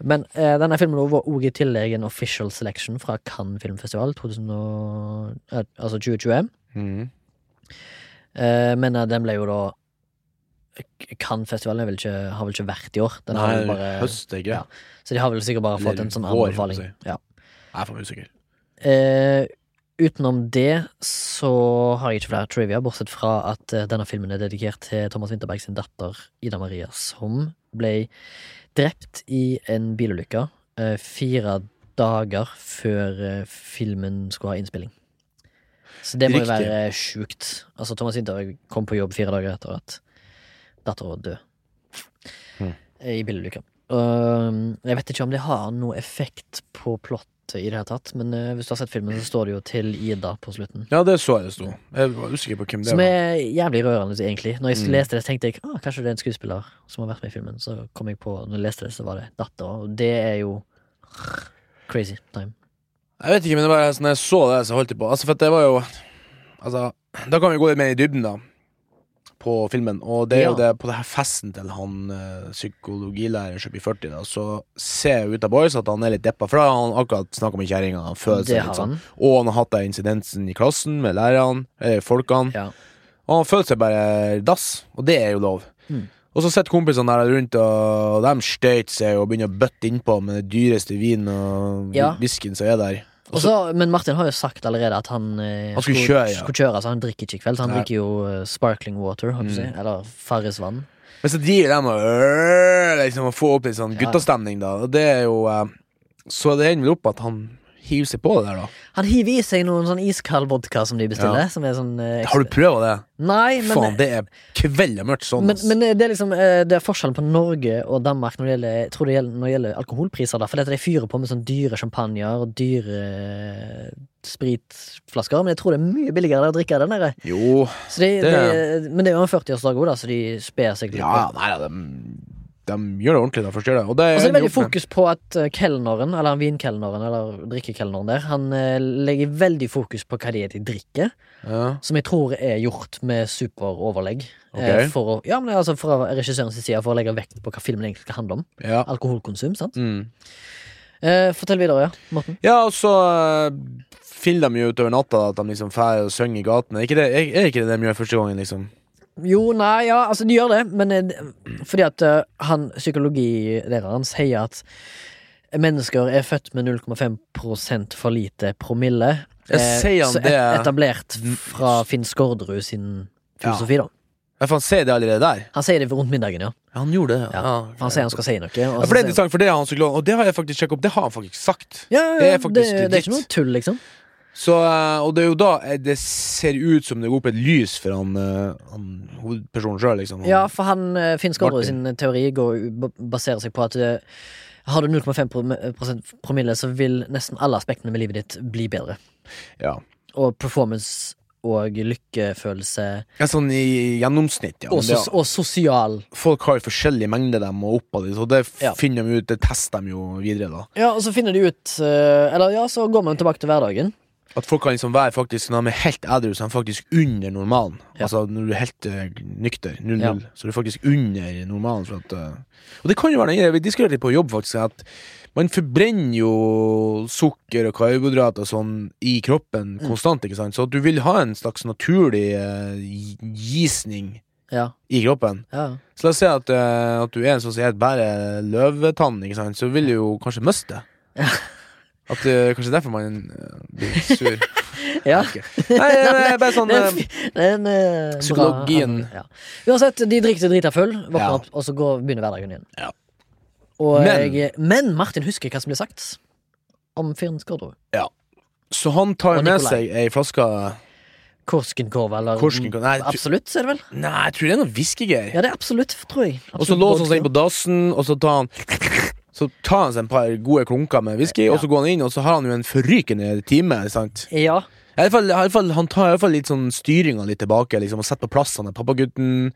S1: Men eh, denne filmen var også i tillegg en official selection fra Cannes filmfestival 2000 og, eh, altså 2021.
S2: Mhm.
S1: Eh, men eh, den ble jo da Cannes-festivalen er vel ikke- har vel ikke vært i år? Den har
S2: Nei,
S1: vel bare,
S2: høst, ikke?
S1: ja. så de har vel sikkert bare fått
S2: Eller
S1: en sånn
S2: vår,
S1: anbefaling.
S2: må
S1: Ja.
S2: Jeg er for usikker.
S1: Eh, utenom det så har jeg ikke flere trivia, bortsett fra at eh, denne filmen er dedikert til Thomas Winterberg sin datter Ida Maria, som ble drept i en bilulykke eh, fire dager før eh, filmen skulle ha innspilling. Så det må jo
S2: Riktig.
S1: være sjukt. Altså, Thomas Winterberg kom på jobb fire dager etter at dattera døde Eh,
S2: Mm.
S1: i bilulykke. Um, jeg vet ikke om det har noe effekt på plottet i det hele tatt, men eh, hvis du har sett filmen, så står det jo til Ida på slutten.
S2: Ja, det så jeg det sto. Jeg var usikker på hvem det
S1: Som
S2: var.
S1: er jævlig rørende, egentlig. Når jeg
S2: Mm.
S1: leste det, så tenkte jeg ah, kanskje det er en skuespiller som har vært med i filmen. Så kom jeg på, når jeg leste det, så var det dattera, og det er jo crazy time.
S2: Jeg vet ikke, men det var sånn jeg så det, så holdt jeg på. Altså, for at det var jo Altså, da kan vi gå litt mer i dybden, da. På filmen. Og det er jo det
S1: Ja.
S2: på det her festen til han eh, psykologilæreren som blir 40, da, så ser jeg ut av boys at han er litt deppa. For da har han akkurat snakka med kjerringa. Han føler
S1: Det
S2: seg
S1: har
S2: litt sånn.
S1: han.
S2: Og han har hatt den incidensen i klassen med lærerne, eh, folkene.
S1: Ja.
S2: Og han føler seg bare dass, og det er jo lov.
S1: Mm.
S2: Og så sitter kompisene der rundt, og de støyter seg og begynner å bøtte innpå med den dyreste vinen og
S1: Ja.
S2: whiskyen som er der. Og
S1: Og så- men Martin har jo sagt allerede at han, eh,
S2: Han skulle kjøre, ja.
S1: skulle kjøre, så han drikker ikke i kveld. Så han
S2: Nei. Mm.
S1: drikker jo eh, sparkling water, håper jeg, å si, eller Farrisvann.
S2: Men så driver de og øh, liksom, og får opp litt sånn
S1: Ja.
S2: guttastemning, da. Og det er jo eh, Så det ender vel opp at han hiver seg på det der, da.
S1: Han hiver i seg noen sånn iskald vodka som de bestiller. Som er sånn eh,
S2: Har du prøvd det?
S1: Nei, men,
S2: Faen, det er kveld av mørkt sånn.
S1: men,
S2: ass.
S1: men det er liksom eh, Det er forskjellen på Norge og Danmark når det gjelder, jeg tror det gjelder, når det gjelder alkoholpriser. Da, for dette de fyrer på med sånn dyre champagner og dyre eh, spritflasker. Men jeg tror det er mye billigere å drikke den der.
S2: jo
S1: Så de,
S2: Det-
S1: de, men det er jo en 40-årsdag òg, da, så de sper seg litt.
S2: Ja, nei da, de, de gjør det ordentlig, de forstår det. Og det
S1: Og så er det
S2: ender
S1: veldig
S2: jo opp med-
S1: fokus på at eh, kelneren, eller han vinkelneren, eller drikkekelneren der, han eh, legger veldig fokus på hva det er de drikker,
S2: ja.
S1: som jeg tror er gjort med superoverlegg.
S2: Ok.
S1: eh, For å, ja, men altså fra regissørens side, for å legge vekt på hva filmen egentlig skal handle om.
S2: ja.
S1: Alkoholkonsum, sant?
S2: Mm.
S1: Eh, fortell videre, ja, Morten.
S2: Ja, og så eh, finner de jo utover natta at de liksom fær og synger i gatene. Er ikke det, er, er ikke det de gjør første gangen, liksom?
S1: Jo, nei, ja, altså de gjør det, men eh, fordi at eh, han, psykologilæreren sier at mennesker er født med 0,5 for lite promille. Eh,
S2: Jeg sier han
S1: så
S2: det- Mm.
S1: et- Etablert fra Finn Skårderud sin filosofi, da.
S2: Ja, for han sier det allerede der.
S1: Han sier det rundt middagen, ja.
S2: Ja, han gjorde det.
S1: ja. For han sier han skal si noe.
S2: Ja, for det er sånn- interessant, for det har han psykologen, og det har jeg faktisk sjekket opp. Det har han faktisk sagt.
S1: ja, ja,
S2: Det
S1: ja,
S2: er
S1: det,
S2: faktisk
S1: det er
S2: legit.
S1: ikke noe tull, liksom.
S2: Så, eh, og det er jo da eh, det ser ut som det går opp et lys for han, eh, han hovedpersonen sjøl, liksom. Han-
S1: Ja, for han eh, Finn Skårderud
S2: Martin.
S1: sin teori går, ba- baserer seg på at eh, har du 0,5 prom- prosent promille, så vil nesten alle aspektene med livet ditt bli bedre.
S2: ja.
S1: Og performance og lykkefølelse.
S2: Ja, sånn i gjennomsnitt, ja.
S1: Og,
S2: Men det,
S1: sos og sosial.
S2: folk har jo forskjellige mengder dem og oppad i, så det
S1: Ja.
S2: finner de ut, det tester de jo videre, da.
S1: Ja, og så finner de ut eh, Eller ja, så går man tilbake til hverdagen.
S2: At folk kan liksom være faktisk Når de er helt edru, så er de faktisk under normalen.
S1: Ja.
S2: Altså når du er helt eh, nykter, 0-0,
S1: Ja.
S2: så er du faktisk under normalen. For at, eh, og det kan jo være den greia vi diskuterte litt på jobb, faktisk, at man forbrenner jo sukker og karbohydrater og sånn i kroppen
S1: Mm.
S2: konstant, ikke sant? Så du vil ha en slags naturlig eh, gi- gisning
S1: Ja.
S2: i kroppen.
S1: ja.
S2: Så la oss si at, eh, at du er en sånn som heter bare løvetann, ikke sant? så vil du jo kanskje miste det. At eh, Kanskje derfor man eh, blir sur.
S1: ja.
S2: Ok. Nei, nei, nei, bare sånn
S1: Det er
S2: eh,
S1: en, fi- det er en eh, bra
S2: Psykologien.
S1: handling, ja. Uansett, de drikker seg drita full, våkner
S2: Ja.
S1: opp, og så går, begynner hverdagen igjen.
S2: Ja.
S1: Og
S2: Men-
S1: jeg, men Martin husker hva som ble sagt om fyren Skårdrud.
S2: Så han tar
S1: Og
S2: med
S1: Nikolai.
S2: seg ei flaske
S1: Korskenkorv, eller
S2: Korskenkorv, nei, tu-
S1: Absolutt, er det vel?
S2: Nei, jeg tror det er noe whiskygreier.
S1: Ja, det er absolutt, tror jeg.
S2: og så
S1: Absolutt
S2: låser han seg inn
S1: vodka.
S2: på dassen, og så tar han Så tar han seg en par gode klunker med whisky, og så går han inn, og så har han jo en forrykende time. ikke Sant?
S1: Ja.
S2: I alle fall, i alle fall, han tar i alle fall litt sånn styringa litt tilbake, liksom, og setter på plass han der pappagutten.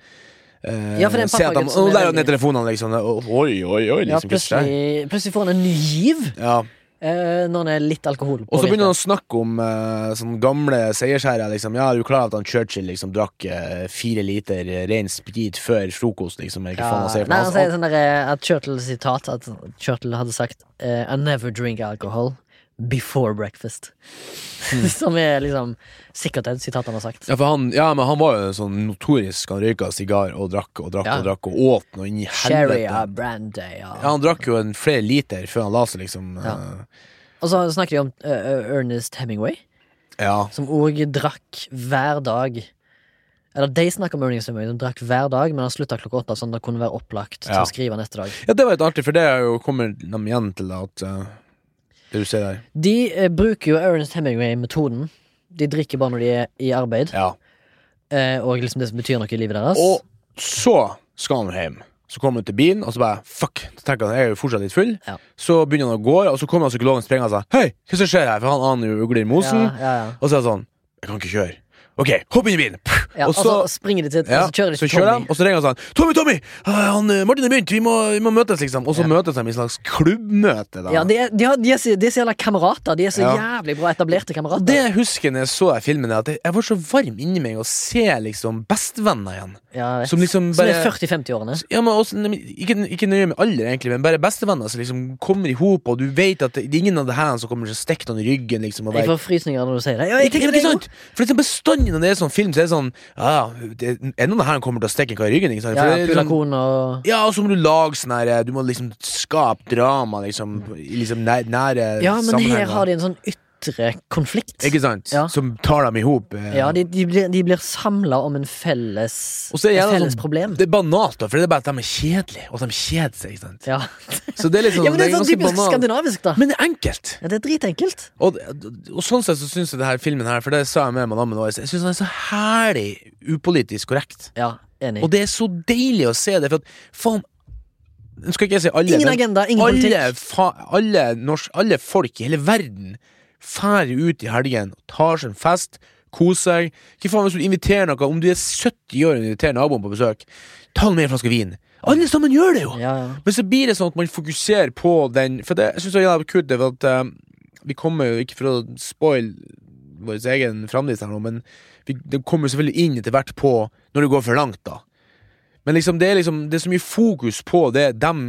S2: Eh,
S1: Ja, for det er en
S2: ser at han-
S1: pappagutt som
S2: og
S1: er
S2: der er jo
S1: veldig-
S2: ned telefonene, liksom. og- Oi, oi, oi,
S1: ja
S2: liksom. plutselig.
S1: plutselig, plutselig får han en ny giv
S2: Ja.
S1: eh, når han er litt alkohol
S2: Og så begynner han å snakke om eh, sånne gamle seiersherrer. Liksom. Ja, er du klar over at han Churchill liksom, drakk eh, fire liter eh, ren sprit før frokost? Liksom, eller hva faen han sier for
S1: Nei,
S2: noe?
S1: han sier sånn der, eh, at Churchill sitat At Churchill hadde sagt eh, I never drink alcohol before breakfast Som er liksom Sikkert et sitat han har sagt
S2: Hmm. ja, for han, ja, men han var jo sånn notorisk. Han røyka sigar og drakk og drakk
S1: Ja.
S2: og drakk og åt noe inn i helvete.
S1: Sherry, ja, brandy ja.
S2: Ja, han drakk jo en flere liter før han la seg, liksom.
S1: Ja.
S2: eh,
S1: Og så snakker de om eh, eh, Ernest Hemingway
S2: Eh, ja.
S1: Som også drakk hver dag Eller de snakker om Ernest Hemingway Som drakk hver dag, men han sluttet klokka åtta Sånn at det kunne være opplagt til
S2: Ja.
S1: å skrive neste dag
S2: ja, det var litt artig, for det er jo, kommer de igjen til at eh, Det du ser der.
S1: De eh, bruker jo Ernest Hemingway-metoden De drikker bare når de er i arbeid
S2: Ja.
S1: eh, Og liksom det som betyr noe i livet deres
S2: Og så skal han hjem. Så kommer han til bilen, og så bare fuck. Så tenker han, jeg er jo fortsatt litt full.
S1: Ja.
S2: Så begynner han å gå, og så kommer han psykologen sprengende og sier hei, hva som skjer her? For han aner jo ugler i mosen.
S1: Ja, ja, ja.
S2: Og så er han sånn, jeg kan ikke kjøre. Ok, hopp inn i bilen.
S1: Ja, og, så, springer de til
S2: ja,
S1: Og så kjører de
S2: så
S1: til
S2: kjører
S1: Tommy.
S2: de, og så ringer han sånn Tommy, Tommy! eh, Han, eh, Martin har begynt, vi må, vi må møtes, liksom. Og så
S1: Ja.
S2: møtes de i et slags klubbmøte. Da.
S1: Ja, de, er, de, har, de, er, så- de er så jævla kamerater. De er så
S2: Ja.
S1: jævlig bra etablerte kamerater.
S2: Og det jeg husker når jeg så den filmen, er at jeg- jeg var så varm inni meg å se liksom bestevenner igjen.
S1: ja, jeg vet.
S2: Som liksom
S1: Som er
S2: bare-
S1: 40-50-årene.
S2: Ja, men også, nei, men ikke, ikke nøye med alder, egentlig, men bare bestevenner som liksom kommer i hop, og du vet at det, det er ingen av det her som kommer til å stikke noen i ryggen. liksom og
S1: Jeg
S2: være,
S1: får frysninger når du sier det. Ja,
S2: Ikke-
S1: jeg tenker
S2: ikke
S1: det er
S2: sant? For liksom bestandig når det er sånn film, så er det sånn Ja, det, en av det her kommer til å stikke en kar i ryggen. ikke sant?
S1: Ja,
S2: For
S1: ja,
S2: det er sånn,
S1: Pulakon og
S2: ja, og så må du lage sånn her Du må liksom skape drama, liksom, i liksom nær, nære
S1: Ja, men her
S2: sammenhenger.
S1: har de en sånn ytre konflikt.
S2: Ikke sant?
S1: Ja.
S2: Som tar dem i hop. eh.
S1: Ja, de, de blir, de blir samla om en felles,
S2: Og så er det
S1: et
S2: gjerne
S1: felles
S2: sånn-
S1: problem.
S2: Det er banalt, da, for det er bare at de er kjedelige, og at de kjeder seg. ikke sant?
S1: Ja.
S2: Så det er litt sånn,
S1: ja, men det er sånn
S2: ganske
S1: typisk
S2: banalt.
S1: skandinavisk, da.
S2: Men det er enkelt.
S1: Ja, det er dritenkelt.
S2: Og, og sånn sett så syns jeg det her filmen her, for det sa jeg med madammen vår, jeg syns den er så herlig upolitisk korrekt.
S1: Ja, enig.
S2: Og det er så deilig å se det, for at faen Nå skal ikke jeg si alle,
S1: Ingen agenda, ingen
S2: alle,
S1: politikk.
S2: fa, alle, norsk, alle folk i hele verden drar ut i helgen, tar seg en fest, koser seg. Hva faen hvis du inviterer noe, om du er 70 år og inviterer naboen på besøk, ta med en flaske vin. Alle sammen gjør det jo!
S1: Ja, ja.
S2: Men så blir det sånn at man fokuserer på den For det syns jeg er jævlig kult. Det, er at, eh, vi kommer jo ikke for å spoil vår egen framdrift her nå, men vi, det kommer jo selvfølgelig inn etter hvert på når det går for langt, da. Men liksom, det er liksom Det er så mye fokus på det dem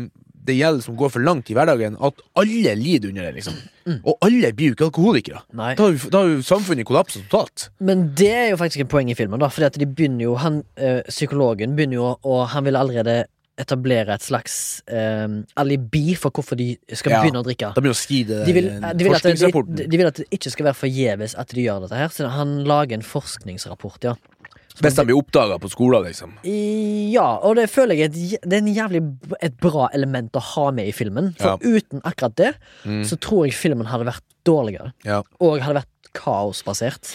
S2: det gjelder som går for langt i hverdagen, at alle lider under det. liksom Og alle blir jo ikke alkoholikere.
S1: Mm. Nei.
S2: Da har jo- da har jo samfunnet kollapsa totalt.
S1: Men det er jo faktisk et poeng i filmen, da. Fordi at de begynner jo, han, eh, psykologen begynner jo, å- og han vil allerede etablere et slags eh, alibi for hvorfor de skal
S2: Ja.
S1: begynne å drikke.
S2: Da begynner å skride
S1: De vil,
S2: eh,
S1: de, vil at det, de,
S2: forskningsrapporten.
S1: de vil at det ikke skal være forgjeves at de gjør dette her, så han lager en forskningsrapport, ja.
S2: Hvis de blir oppdaga på skolen, liksom.
S1: I- Ja, og det føler jeg er et, j- det er en jævlig b- et bra element å ha med i filmen. For uten akkurat det,
S2: Mm.
S1: så tror jeg filmen hadde vært dårligere.
S2: Ja.
S1: Og hadde vært kaosbasert.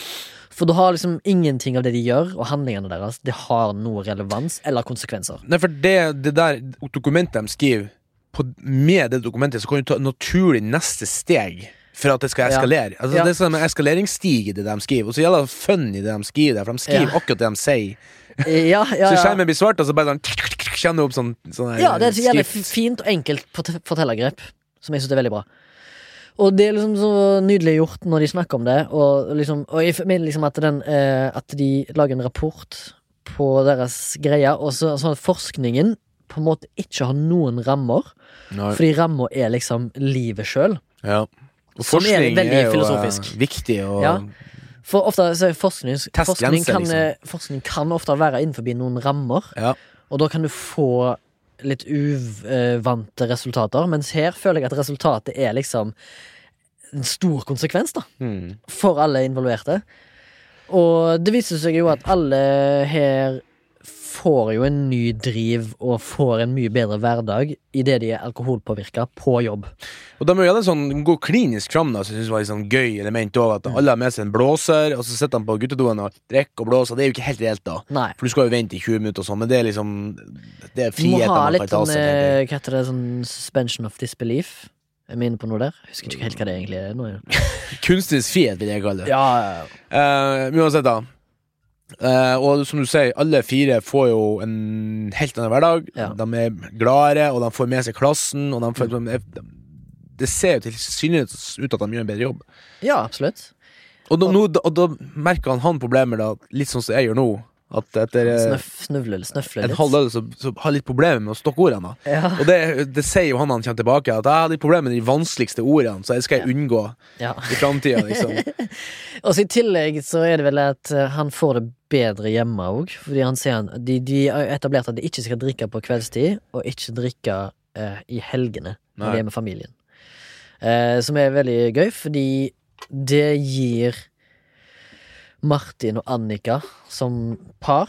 S1: For du har liksom ingenting av det de gjør, og handlingene deres, det har noe relevans eller konsekvenser.
S2: Nei, for det, det der dokumentet de skriver på, Med det dokumentet så kan du ta naturlig neste steg for at det skal
S1: Ja.
S2: eskalere. Altså,
S1: Ja.
S2: Det er sånn en eskaleringsstig i det de skriver, og så gjelder det fun i det de skriver. Der, for de skriver
S1: Ja.
S2: akkurat det de sier.
S1: Ja, ja,
S2: Så
S1: ja.
S2: skjermen blir svart, og så bare sånn Kjenner du opp sånn, sånn her
S1: ja det er et jævlig
S2: skrift.
S1: fint og enkelt port- fortellergrep, som jeg syns er veldig bra. Og det er liksom så nydelig gjort når de snakker om det, og liksom, og jeg mener liksom at, den, eh, at de lager en rapport på deres greier, og så, sånn at forskningen på en måte ikke har noen rammer,
S2: Nei.
S1: fordi rammer er liksom livet sjøl.
S2: Ja. Og
S1: Som er
S2: forskning
S1: veldig
S2: er jo
S1: filosofisk.
S2: eh, viktig. Og,
S1: Ja. For ofte så er forskning,
S2: Testgrenser,
S1: forskning, kan,
S2: liksom.
S1: eh, forskning kan ofte være innenfor noen rammer,
S2: Ja.
S1: og da kan du få litt uvante resultater, mens her føler jeg at resultatet er liksom en stor konsekvens, da.
S2: Mm.
S1: for alle involverte. Og det viser seg jo at alle her får jo en ny driv og får en mye bedre hverdag idet de er alkoholpåvirka på jobb.
S2: Og de gjør det sånn, de går klinisk fram, da, som jeg synes var litt sånn gøy element også,
S1: Mm.
S2: at alle har med seg en blåser, og så sitter de på guttedoen og drikker og blåser. Det er jo ikke helt reelt, da.
S1: Nei.
S2: For du skal jo vente i 20 minutter og sånn, men det er liksom Det er
S1: Du må
S2: friheten
S1: ha
S2: man
S1: litt
S2: kan ta
S1: sånn,
S2: seg. tenker jeg.
S1: eh, hva heter det, sånn suspension of disbelief. Jeg minner på noe der. Husker ikke helt hva det egentlig er. Nå.
S2: Kunstnerisk frihet, vil jeg kalle det.
S1: Ja,
S2: Eh, men uansett, da. Eh, og som du sier, alle fire får jo en helt annen hverdag.
S1: Ja. Mm.
S2: De er gladere, og de får med seg klassen. Og de får, liksom, eh, de, det ser jo tilsynelatende ut at de gjør en bedre jobb.
S1: ja absolutt.
S2: Og da, nå, da, og da merker han, han problemer, da, litt sånn som jeg gjør nå. At etter eh,
S1: Snøff, snøvle, snøfle
S2: en
S1: litt.
S2: halv øl så, så har jeg litt problemer med å stokke ordene. da.
S1: Ja,
S2: Og det, det sier jo han når han kommer tilbake, at jeg har litt problemer med de vanskeligste ordene, så det skal jeg unngå
S1: ja.
S2: i framtida. Liksom.
S1: Og så I tillegg så er det vel at eh, han får det bedre hjemme òg. Fordi han ser han, de, de har jo etablert at de ikke skal drikke på kveldstid, og ikke drikke eh, i helgene
S2: Nei.
S1: når de er med familien. Eh, som er veldig gøy, fordi det gir Martin og Annika som par,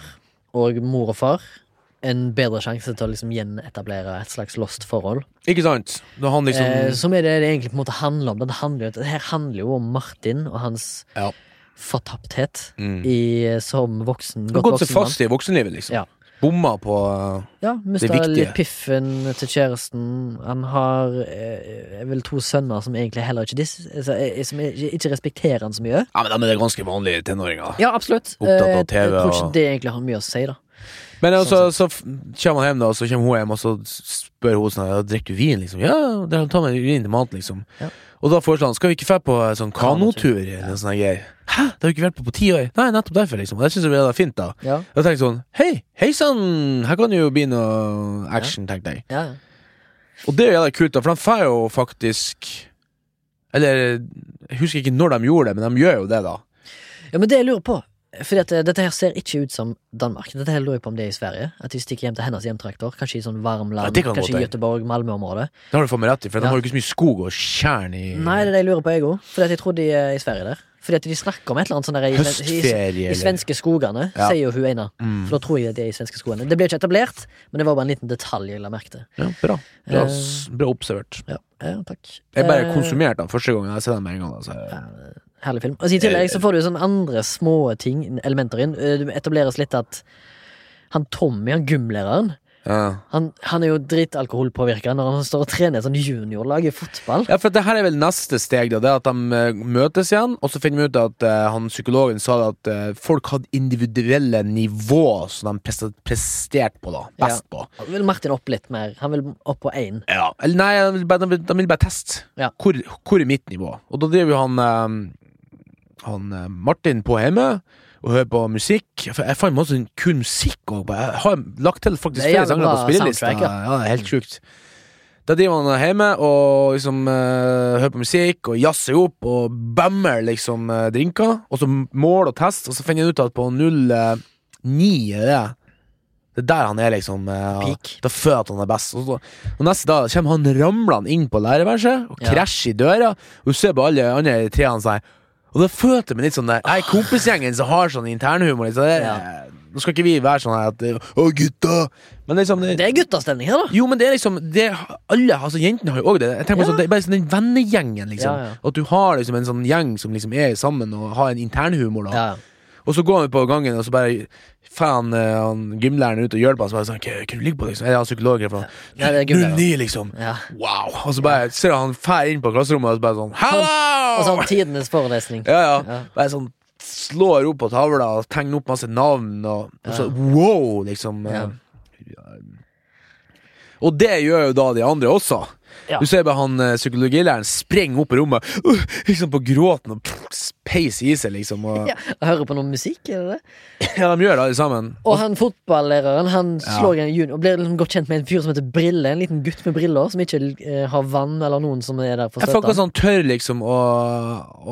S1: og mor og far, en bedre sjanse til å liksom gjenetablere et slags lost forhold.
S2: Ikke sant? Da han liksom
S1: Eh, som er det det egentlig på en måte handler om. Det handler, jo- det her handler jo om Martin og hans
S2: Ja.
S1: fortapthet
S2: Mm.
S1: i, som voksen.
S2: har
S1: Godt
S2: gått seg
S1: voksen mann.
S2: fast i voksenlivet, liksom.
S1: Ja.
S2: Bomma på
S1: Ja, mista
S2: viktige.
S1: litt piffen til kjæresten. Han har eh, jeg vil to sønner som egentlig heller ikke dis, altså, eh, Som ikke ikke respekterer han så mye.
S2: Ja, men de er det ganske vanlige tenåringer.
S1: Ja, absolutt.
S2: Opptatt av
S1: Eh, jeg
S2: TV
S1: tror ikke
S2: og-
S1: det egentlig har mye å si, da.
S2: Men
S1: Sånn
S2: altså, så f- kommer han hjem, da, og så kommer hun hjem, og så spør hun sånn ja, 'Drikker du vin?' liksom. 'Ja, det er- ta med vin til maten', liksom.
S1: Ja.
S2: Og da foreslår han 'Skal vi ikke dra på eh, sånn
S1: Kanotur,
S2: kanotur?' Eller sånne greier. Hæ, det har vi ikke vært på på ti år? Nei, nettopp derfor, liksom. Og det syns jeg var fint, da.
S1: Ja,
S2: Jeg tenkte sånn Hei, hei sann, her kan det jo bli noe action, tenkte jeg.
S1: ja.
S2: Og det er jo jævla kult, da, for de får jo faktisk Eller jeg husker ikke når de gjorde det, men de gjør jo det, da.
S1: ja men det jeg lurer på fordi at eh, Dette her ser ikke ut som Danmark. Dette her lurer jeg på om det er i Sverige. At de stikker hjem til hennes hjemtrakter. Kanskje i sånn varm
S2: Ja,
S1: land.
S2: det kan godt
S1: kanskje i
S2: være.
S1: Göteborg, Malmö-området.
S2: Det har du faen meg rett i, for
S1: Ja.
S2: de har jo ikke så mye skog og tjern i
S1: Nei, det er det jeg lurer på, jeg òg. Fordi at jeg tror de er i Sverige der. Fordi at de snakker om et eller annet sånn der i- i,
S2: høstferie.
S1: i
S2: eller-
S1: svenske skogene,
S2: Ja.
S1: sier jo hun ene.
S2: Mm.
S1: For da tror jeg at de er i svenske skogene. Det ble ikke etablert, men det var bare en liten detalj jeg la merke til.
S2: Ja, bra. Bra,
S1: Eh,
S2: s- bra observert.
S1: Ja, ja takk.
S2: Jeg bare
S1: Eh,
S2: konsumerte den første gangen. Jeg ser den med en gang. Altså.
S1: Herlig film. Og så I
S2: Eh,
S1: tillegg så får du jo sånne andre små ting, elementer inn. Eh, Det etableres litt at han Tommy, han gymlæreren,
S2: Ja.
S1: han, han er jo dritalkoholpåvirka når han står og trener et sånn juniorlag i fotball.
S2: ja, for det her er vel neste steg, da. Det er at de eh, møtes igjen, og så finner vi ut at eh, han psykologen sa det at eh, folk hadde individuelle nivå som de presta- presterte på, da. Best på.
S1: Han Vil Martin opp litt mer? Han vil opp på én.
S2: Ja. Eller nei, de vil bare, de vil, de vil bare teste.
S1: Ja.
S2: Hvor, hvor er mitt nivå? Og da driver jo han, eh, han eh, Martin på hjemme. Og hører på musikk. For Jeg fant masse kun musikk. også. jeg har lagt til faktisk
S1: Det er
S2: flere
S1: jævlig
S2: sanger på
S1: bra
S2: spillelista.
S1: soundtrack,
S2: Ja.
S1: ja.
S2: det er helt sjukt. Da driver han hjemme og liksom eh, hører på musikk og jazzer opp og bammer liksom eh, drinker. Og så mål og test, og så finner han ut at på 09 er det Det er der han er, liksom. eh,
S1: Peak.
S2: da føler jeg at han er best. Og, så, og neste dag kommer han ramlende inn på lærerværelset og
S1: Ja.
S2: krasjer i døra. Og du ser på alle andre tre han sier Og da følte jeg meg litt sånn der Jeg er kompisgjengen som har sånn internhumor. Liksom. Det,
S1: Ja.
S2: Nå skal ikke vi være sånn her at Å, gutta! Men liksom det,
S1: Det er guttastemning her, da!
S2: jo, men det er liksom det, Alle, altså Jentene har jo òg det. Jeg tenker på
S1: Ja.
S2: sånn, Det er bare sånn den vennegjengen. liksom
S1: Ja, ja.
S2: At du har liksom en sånn gjeng som liksom er sammen og har en internhumor. da
S1: Ja,
S2: og så går han på gangen, og så bare faen eh, han gymlæreren ut og hjelper han. Så bare sånn, hva kan du ligge på, liksom? Er det han psykolog? eller noe?
S1: Ja, det er gymlæreren.
S2: 09, liksom.
S1: ja.
S2: Wow! Og så bare ser han fær inn på klasserommet, og så bare sånn,
S1: Og
S2: hello!
S1: sånn tidenes forelesning.
S2: Ja, ja.
S1: Ja.
S2: Bare sånn, slår opp på tavla og tegner opp masse navn, og, og så wow, liksom. eh.
S1: Ja.
S2: Og det gjør jo da de andre også.
S1: Ja.
S2: Du ser bare han eh, psykologilæreren sprenge opp i rommet uh, liksom på gråten og pff, peis i seg, liksom. Og, ja.
S1: Ja, jeg hører på noe musikk, er det det?
S2: de gjør det, alle sammen.
S1: Og han fotballæreren han slår en junior og blir liksom godt kjent med en fyr som heter Brille. En liten gutt med briller som ikke eh, har vann eller noen som er der for å
S2: Jeg får
S1: støtte.
S2: ikke
S1: han.
S2: sånn tør, liksom, å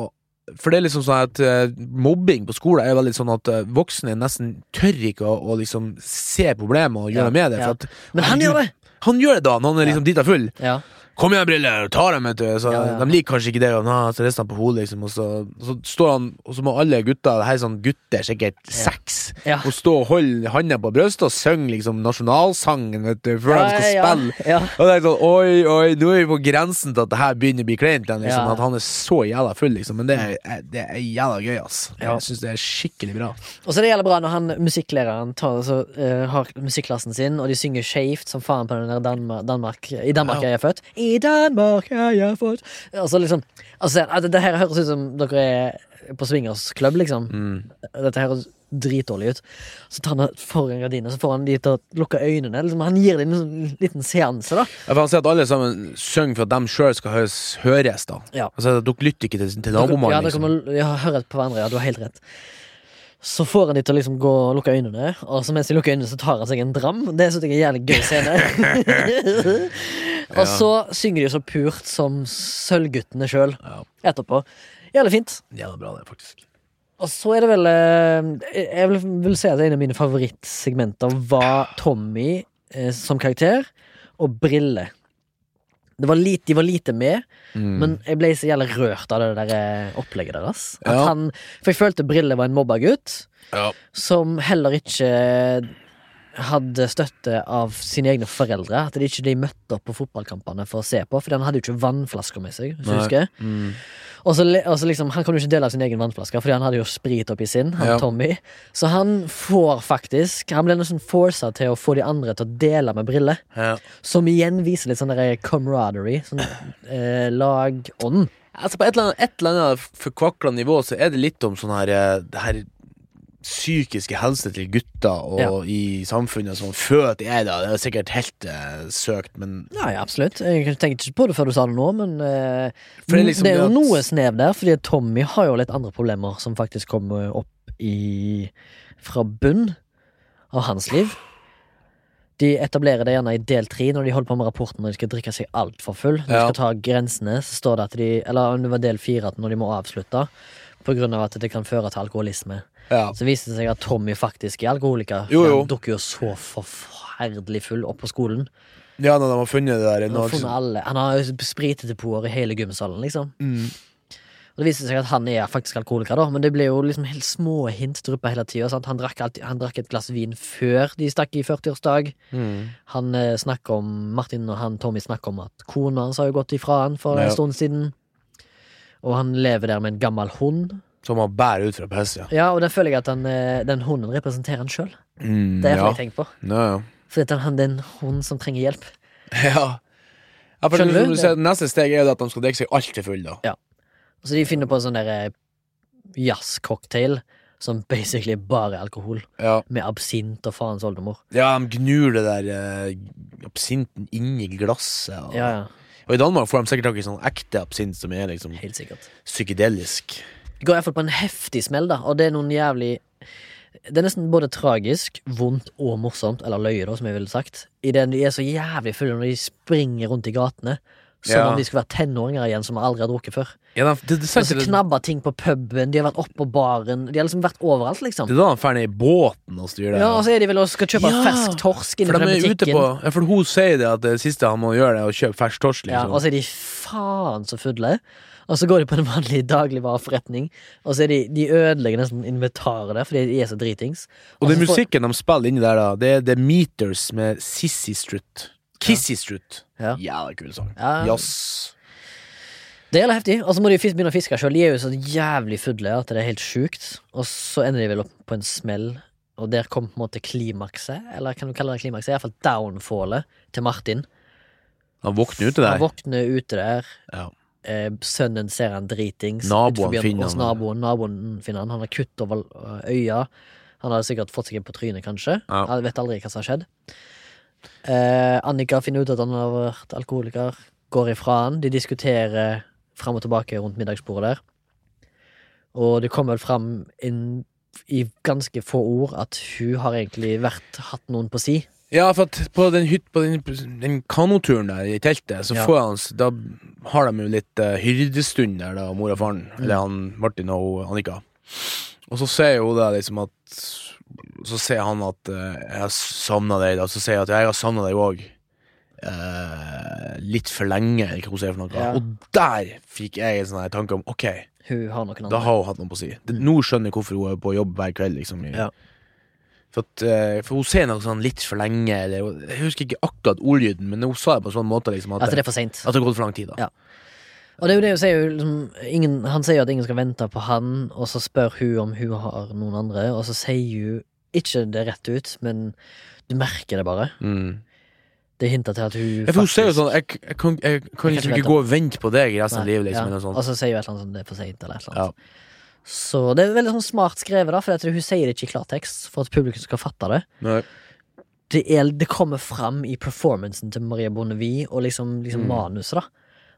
S2: å- For det er liksom sånn at eh, mobbing på skolen er veldig sånn at eh, voksne nesten tør ikke å, å liksom se problemet og gjøre
S1: Ja,
S2: noe med det.
S1: ja.
S2: For at,
S1: Men han gjør det!
S2: han gjør det da, når han er liksom drita full.
S1: Ja.
S2: Kom igjen, Brille! Ta dem, vet du! Så
S1: Ja, ja.
S2: De liker kanskje ikke det, og na, så rister han på hodet, liksom, og så, og så står han Og så må alle gutta, det her er sånn gutter, sikkert seks,
S1: Ja.
S2: og stå og holde handa på brystet og synge liksom nasjonalsangen, vet du, før de skal
S1: Ja, ja,
S2: spille.
S1: Ja.
S2: Og det er sånn, oi, oi, nå er vi på grensen til at det her begynner å bli kleint igjen, liksom.
S1: Ja.
S2: At han er så jævla full, liksom. Men det er, det er jævla gøy, ass.
S1: Ja.
S2: Jeg syns det er skikkelig bra.
S1: Og så det gjelder bra når han musikklæreren tar, så, eh, har musikklassen sin, og de synger skeivt som faen på den der Danmark, Danmark I Danmark
S2: Ja.
S1: er jeg født. I Danmark er jeg født. Og så liksom altså, at Det her høres ut som dere er på swingersklubb, liksom. Dette høres dritdårlig ut. Så tar han foran gardina, så får han de til å lukke øynene. Liksom. Han gir dem en sånn liten seanse, da.
S2: Ja, for han sier at alle sammen synger for at dem sjøl skal høres, høres, da.
S1: Ja.
S2: Altså, dere lytter ikke til, til
S1: Dere-
S2: nabomannen,
S1: Ja, dere
S2: liksom.
S1: må ja, høre på hverandre. Ja, du har helt rett. Så får han de til å liksom gå og lukke øynene, og så mens de lukker øynene, så tar han seg en dram. Det syns jeg er en jævlig gøy scene. og så synger de så purt som Sølvguttene sjøl
S2: Ja.
S1: etterpå. Jævlig fint.
S2: Jævla bra, det, faktisk.
S1: Og så er det vel eh, Jeg vil, vil si at en av mine favorittsegmenter var Tommy eh, som karakter, og Brille. Det var lite, de var lite med,
S2: Mm.
S1: men jeg ble så jævlig rørt av det der eh, opplegget deres. At
S2: Ja.
S1: han, for jeg følte Brille var en mobbagutt
S2: Ja.
S1: som heller ikke hadde støtte av sine egne foreldre. At de ikke de møtte opp på fotballkampene for å se på, for han hadde jo ikke vannflasker med seg. hvis du
S2: Nei.
S1: husker
S2: Mm.
S1: og så, le- og så liksom, Han kan jo ikke dele av sin egen vannflaske, Fordi han hadde jo sprit oppi sin. Han
S2: Ja.
S1: Tommy Så han får faktisk Han ble nesten forsa til å få de andre til å dele med briller.
S2: Ja.
S1: Som igjen viser litt sånn der camaraderie. Sånn eh, lagånd.
S2: Altså På et eller annet, et eller annet forkvakla nivå så er det litt om sånn her eh, Det her psykiske helse til gutter og
S1: Ja.
S2: i samfunnet som før at jeg da Det er sikkert helt eh, søkt, men
S1: Ja, ja, absolutt. Jeg tenkte ikke på det før du sa det nå, men eh,
S2: For det er liksom
S1: det er jo
S2: det at-
S1: noe snev der, fordi Tommy har jo litt andre problemer som faktisk kommer opp i fra bunn av hans liv. De etablerer det gjerne i del tre når de holder på med rapporten når de skal drikke seg altfor full. Når de
S2: Ja.
S1: skal ta grensene, så står det at de Eller om det var del fire, at når de må avslutte på grunn av at det kan føre til alkoholisme.
S2: ja.
S1: Så viste det seg at Tommy faktisk er alkoholiker.
S2: Jo, jo.
S1: Han dukker jo så forferdelig full opp på skolen.
S2: ja, når de har funnet det der
S1: Han
S2: nå,
S1: har
S2: liksom.
S1: funnet alle. Han har jo spritdepoter i hele gymsalen, liksom.
S2: Mm.
S1: Og Det viser seg at han er faktisk alkoholiker, da, men det ble jo liksom helt små hint dryppa hele tida. Han, drakk alltid- han drakk et glass vin før de stakk i 40-årsdag.
S2: Mm.
S1: Han eh, snakker om Martin og han Tommy snakker om at kona hans har jo gått ifra han for
S2: Ja.
S1: en stund siden. Og han lever der med en gammel hund.
S2: Som man bærer ut fra piss, ja.
S1: Ja, og den føler jeg at han, eh, den hunden representerer han sjøl.
S2: Mm,
S1: Det har
S2: ja.
S1: jeg tenkt på.
S2: Ja, ja.
S1: For det er han- det er en hund som trenger hjelp.
S2: ja. ja for
S1: Skjønner du?
S2: som du? Ser, neste steg er jo at de skal drikke seg alt til full, da.
S1: Så de finner på en sånn der eh, jazzcocktail som basically bare er alkohol,
S2: Ja,
S1: med absint og faens oldemor.
S2: ja de gnur det der eh, absinten inn i glasset. Og,
S1: Ja, ja,
S2: og i Danmark får de sikkert tak i sånn ekte absint som er liksom
S1: helt sikkert.
S2: psykedelisk.
S1: Det går iallfall på en heftig smell, da, og det er noen jævlig Det er nesten både tragisk, vondt og morsomt, eller løye, da, som jeg ville sagt, i det de er så jævlig fulle når de springer rundt i gatene. Som
S2: Ja.
S1: om de skulle vært tenåringer igjen som aldri har drukket før.
S2: Ja, de- det, det,
S1: Og så
S2: det, det,
S1: knabber ting på puben, de har vært oppe på baren, de har liksom vært overalt, liksom.
S2: er da han drar ned i båten og styrer det.
S1: Ja, og så er de vel og skal kjøpe
S2: Ja,
S1: fersk torsk
S2: for,
S1: innenfor
S2: de
S1: den
S2: er ute
S1: butikken.
S2: på, ja, for hun sier det at det siste han må gjøre, er å kjøpe fersk torsk.
S1: Ja,
S2: Liksom.
S1: og så er de faen så fulle. Og så går de på den vanlige dagligvareforretning, og så er de, de ødelegger nesten inventaret der fordi de er så dritings.
S2: og den
S1: så får-
S2: musikken de spiller inni der, da, det er The Meters med Sissy Strutt. Kissy Strutt.
S1: Ja.
S2: Jævla kul sang.
S1: Ja.
S2: Jazz.
S1: Det er jævlig heftig. Og så må de fis- begynne å fiske sjøl. De er jo så jævlig fulle at det er helt sjukt. Og så ender de vel opp på en smell, og der kom på en måte klimakset, eller kan du kalle det klimakset? Iallfall downfallet til Martin.
S2: Han våkner ute
S1: Han
S2: der.
S1: våkner ute der.
S2: Ja.
S1: Eh, sønnen ser han dritings.
S2: Naboen
S1: utenfor byen,
S2: finner
S1: hos
S2: han.
S1: Naboen, naboen finner han. Han har kutt over eh, øya. Han har sikkert fått seg en på trynet, kanskje.
S2: Ja.
S1: Jeg vet aldri hva som har skjedd. Eh, Annika finner ut at han har vært alkoholiker. går ifra han. De diskuterer fram og tilbake rundt middagsbordet der. Og det kommer vel fram inn i ganske få ord at hun har egentlig vært, hatt noen på si.
S2: Ja, for at på den, hytt, på den, den kanoturen der i teltet, så
S1: Ja.
S2: får han, s- da har de jo litt eh, hyrdestund der, da, mor og faren.
S1: Mm.
S2: Eller han Martin og Annika. Og så ser jo det liksom at Så ser han at eh, 'jeg har savna deg', da. Så sier jeg at 'jeg har savna deg òg'. litt for lenge, eller hva hun sier for noe.
S1: Ja.
S2: Og der fikk jeg en sånn her tanke om OK,
S1: Hun har noen
S2: da
S1: andre.
S2: har hun hatt noe på å si. Det, nå skjønner jeg hvorfor hun er på jobb hver kveld. Liksom, i,
S1: Mm. Ja.
S2: for, at, eh, for hun ser noe sånn litt for lenge. Eller, jeg husker ikke akkurat ordlyden, men hun sa det på en sånn måte liksom, at,
S1: At Altså, det
S2: det,
S1: er for seint.
S2: at det har gått for lang tid. Da.
S1: Ja. Og det er jo det hun sier. jo Liksom, ingen, han sier jo at ingen skal vente på han, og så spør hun om hun har noen andre, og så sier hun ikke det rett ut, men du merker det bare.
S2: Mm.
S1: Det hinter til at hun
S2: Ja, for hun ser jo sånn Jeg, jeg, kan, jeg kan liksom
S1: vente.
S2: ikke gå og vente på deg resten av
S1: Nei,
S2: livet.
S1: ja.
S2: Liksom, eller noe sånt.
S1: Og så sier hun et eller annet sånn det er for seint, eller et eller annet. Så det er veldig sånn smart skrevet, da, for at hun sier det ikke i klartekst for at publikum skal fatte det.
S2: Nei.
S1: Det, er, det kommer fram i performancen til Maria Bonnevie og liksom, liksom
S2: Mm.
S1: manuset, da.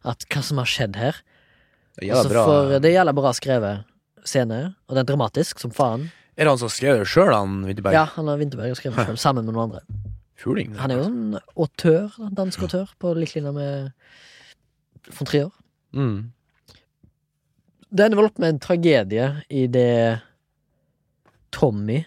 S1: At hva som har skjedd her.
S2: Det er jævla
S1: Altså,
S2: bra.
S1: For det er jævla bra skrevet scene, og den er dramatisk som faen.
S2: Er det han som skrev det sjøl, han Winterberg?
S1: Ja, han har Winterberg og skrevet den selv, sammen med noen andre.
S2: Fuling.
S1: Han er jo sånn autør, da, dansk autør, på lik linje med von Trier.
S2: Mm.
S1: Det ender vel opp med en tragedie i det Tommy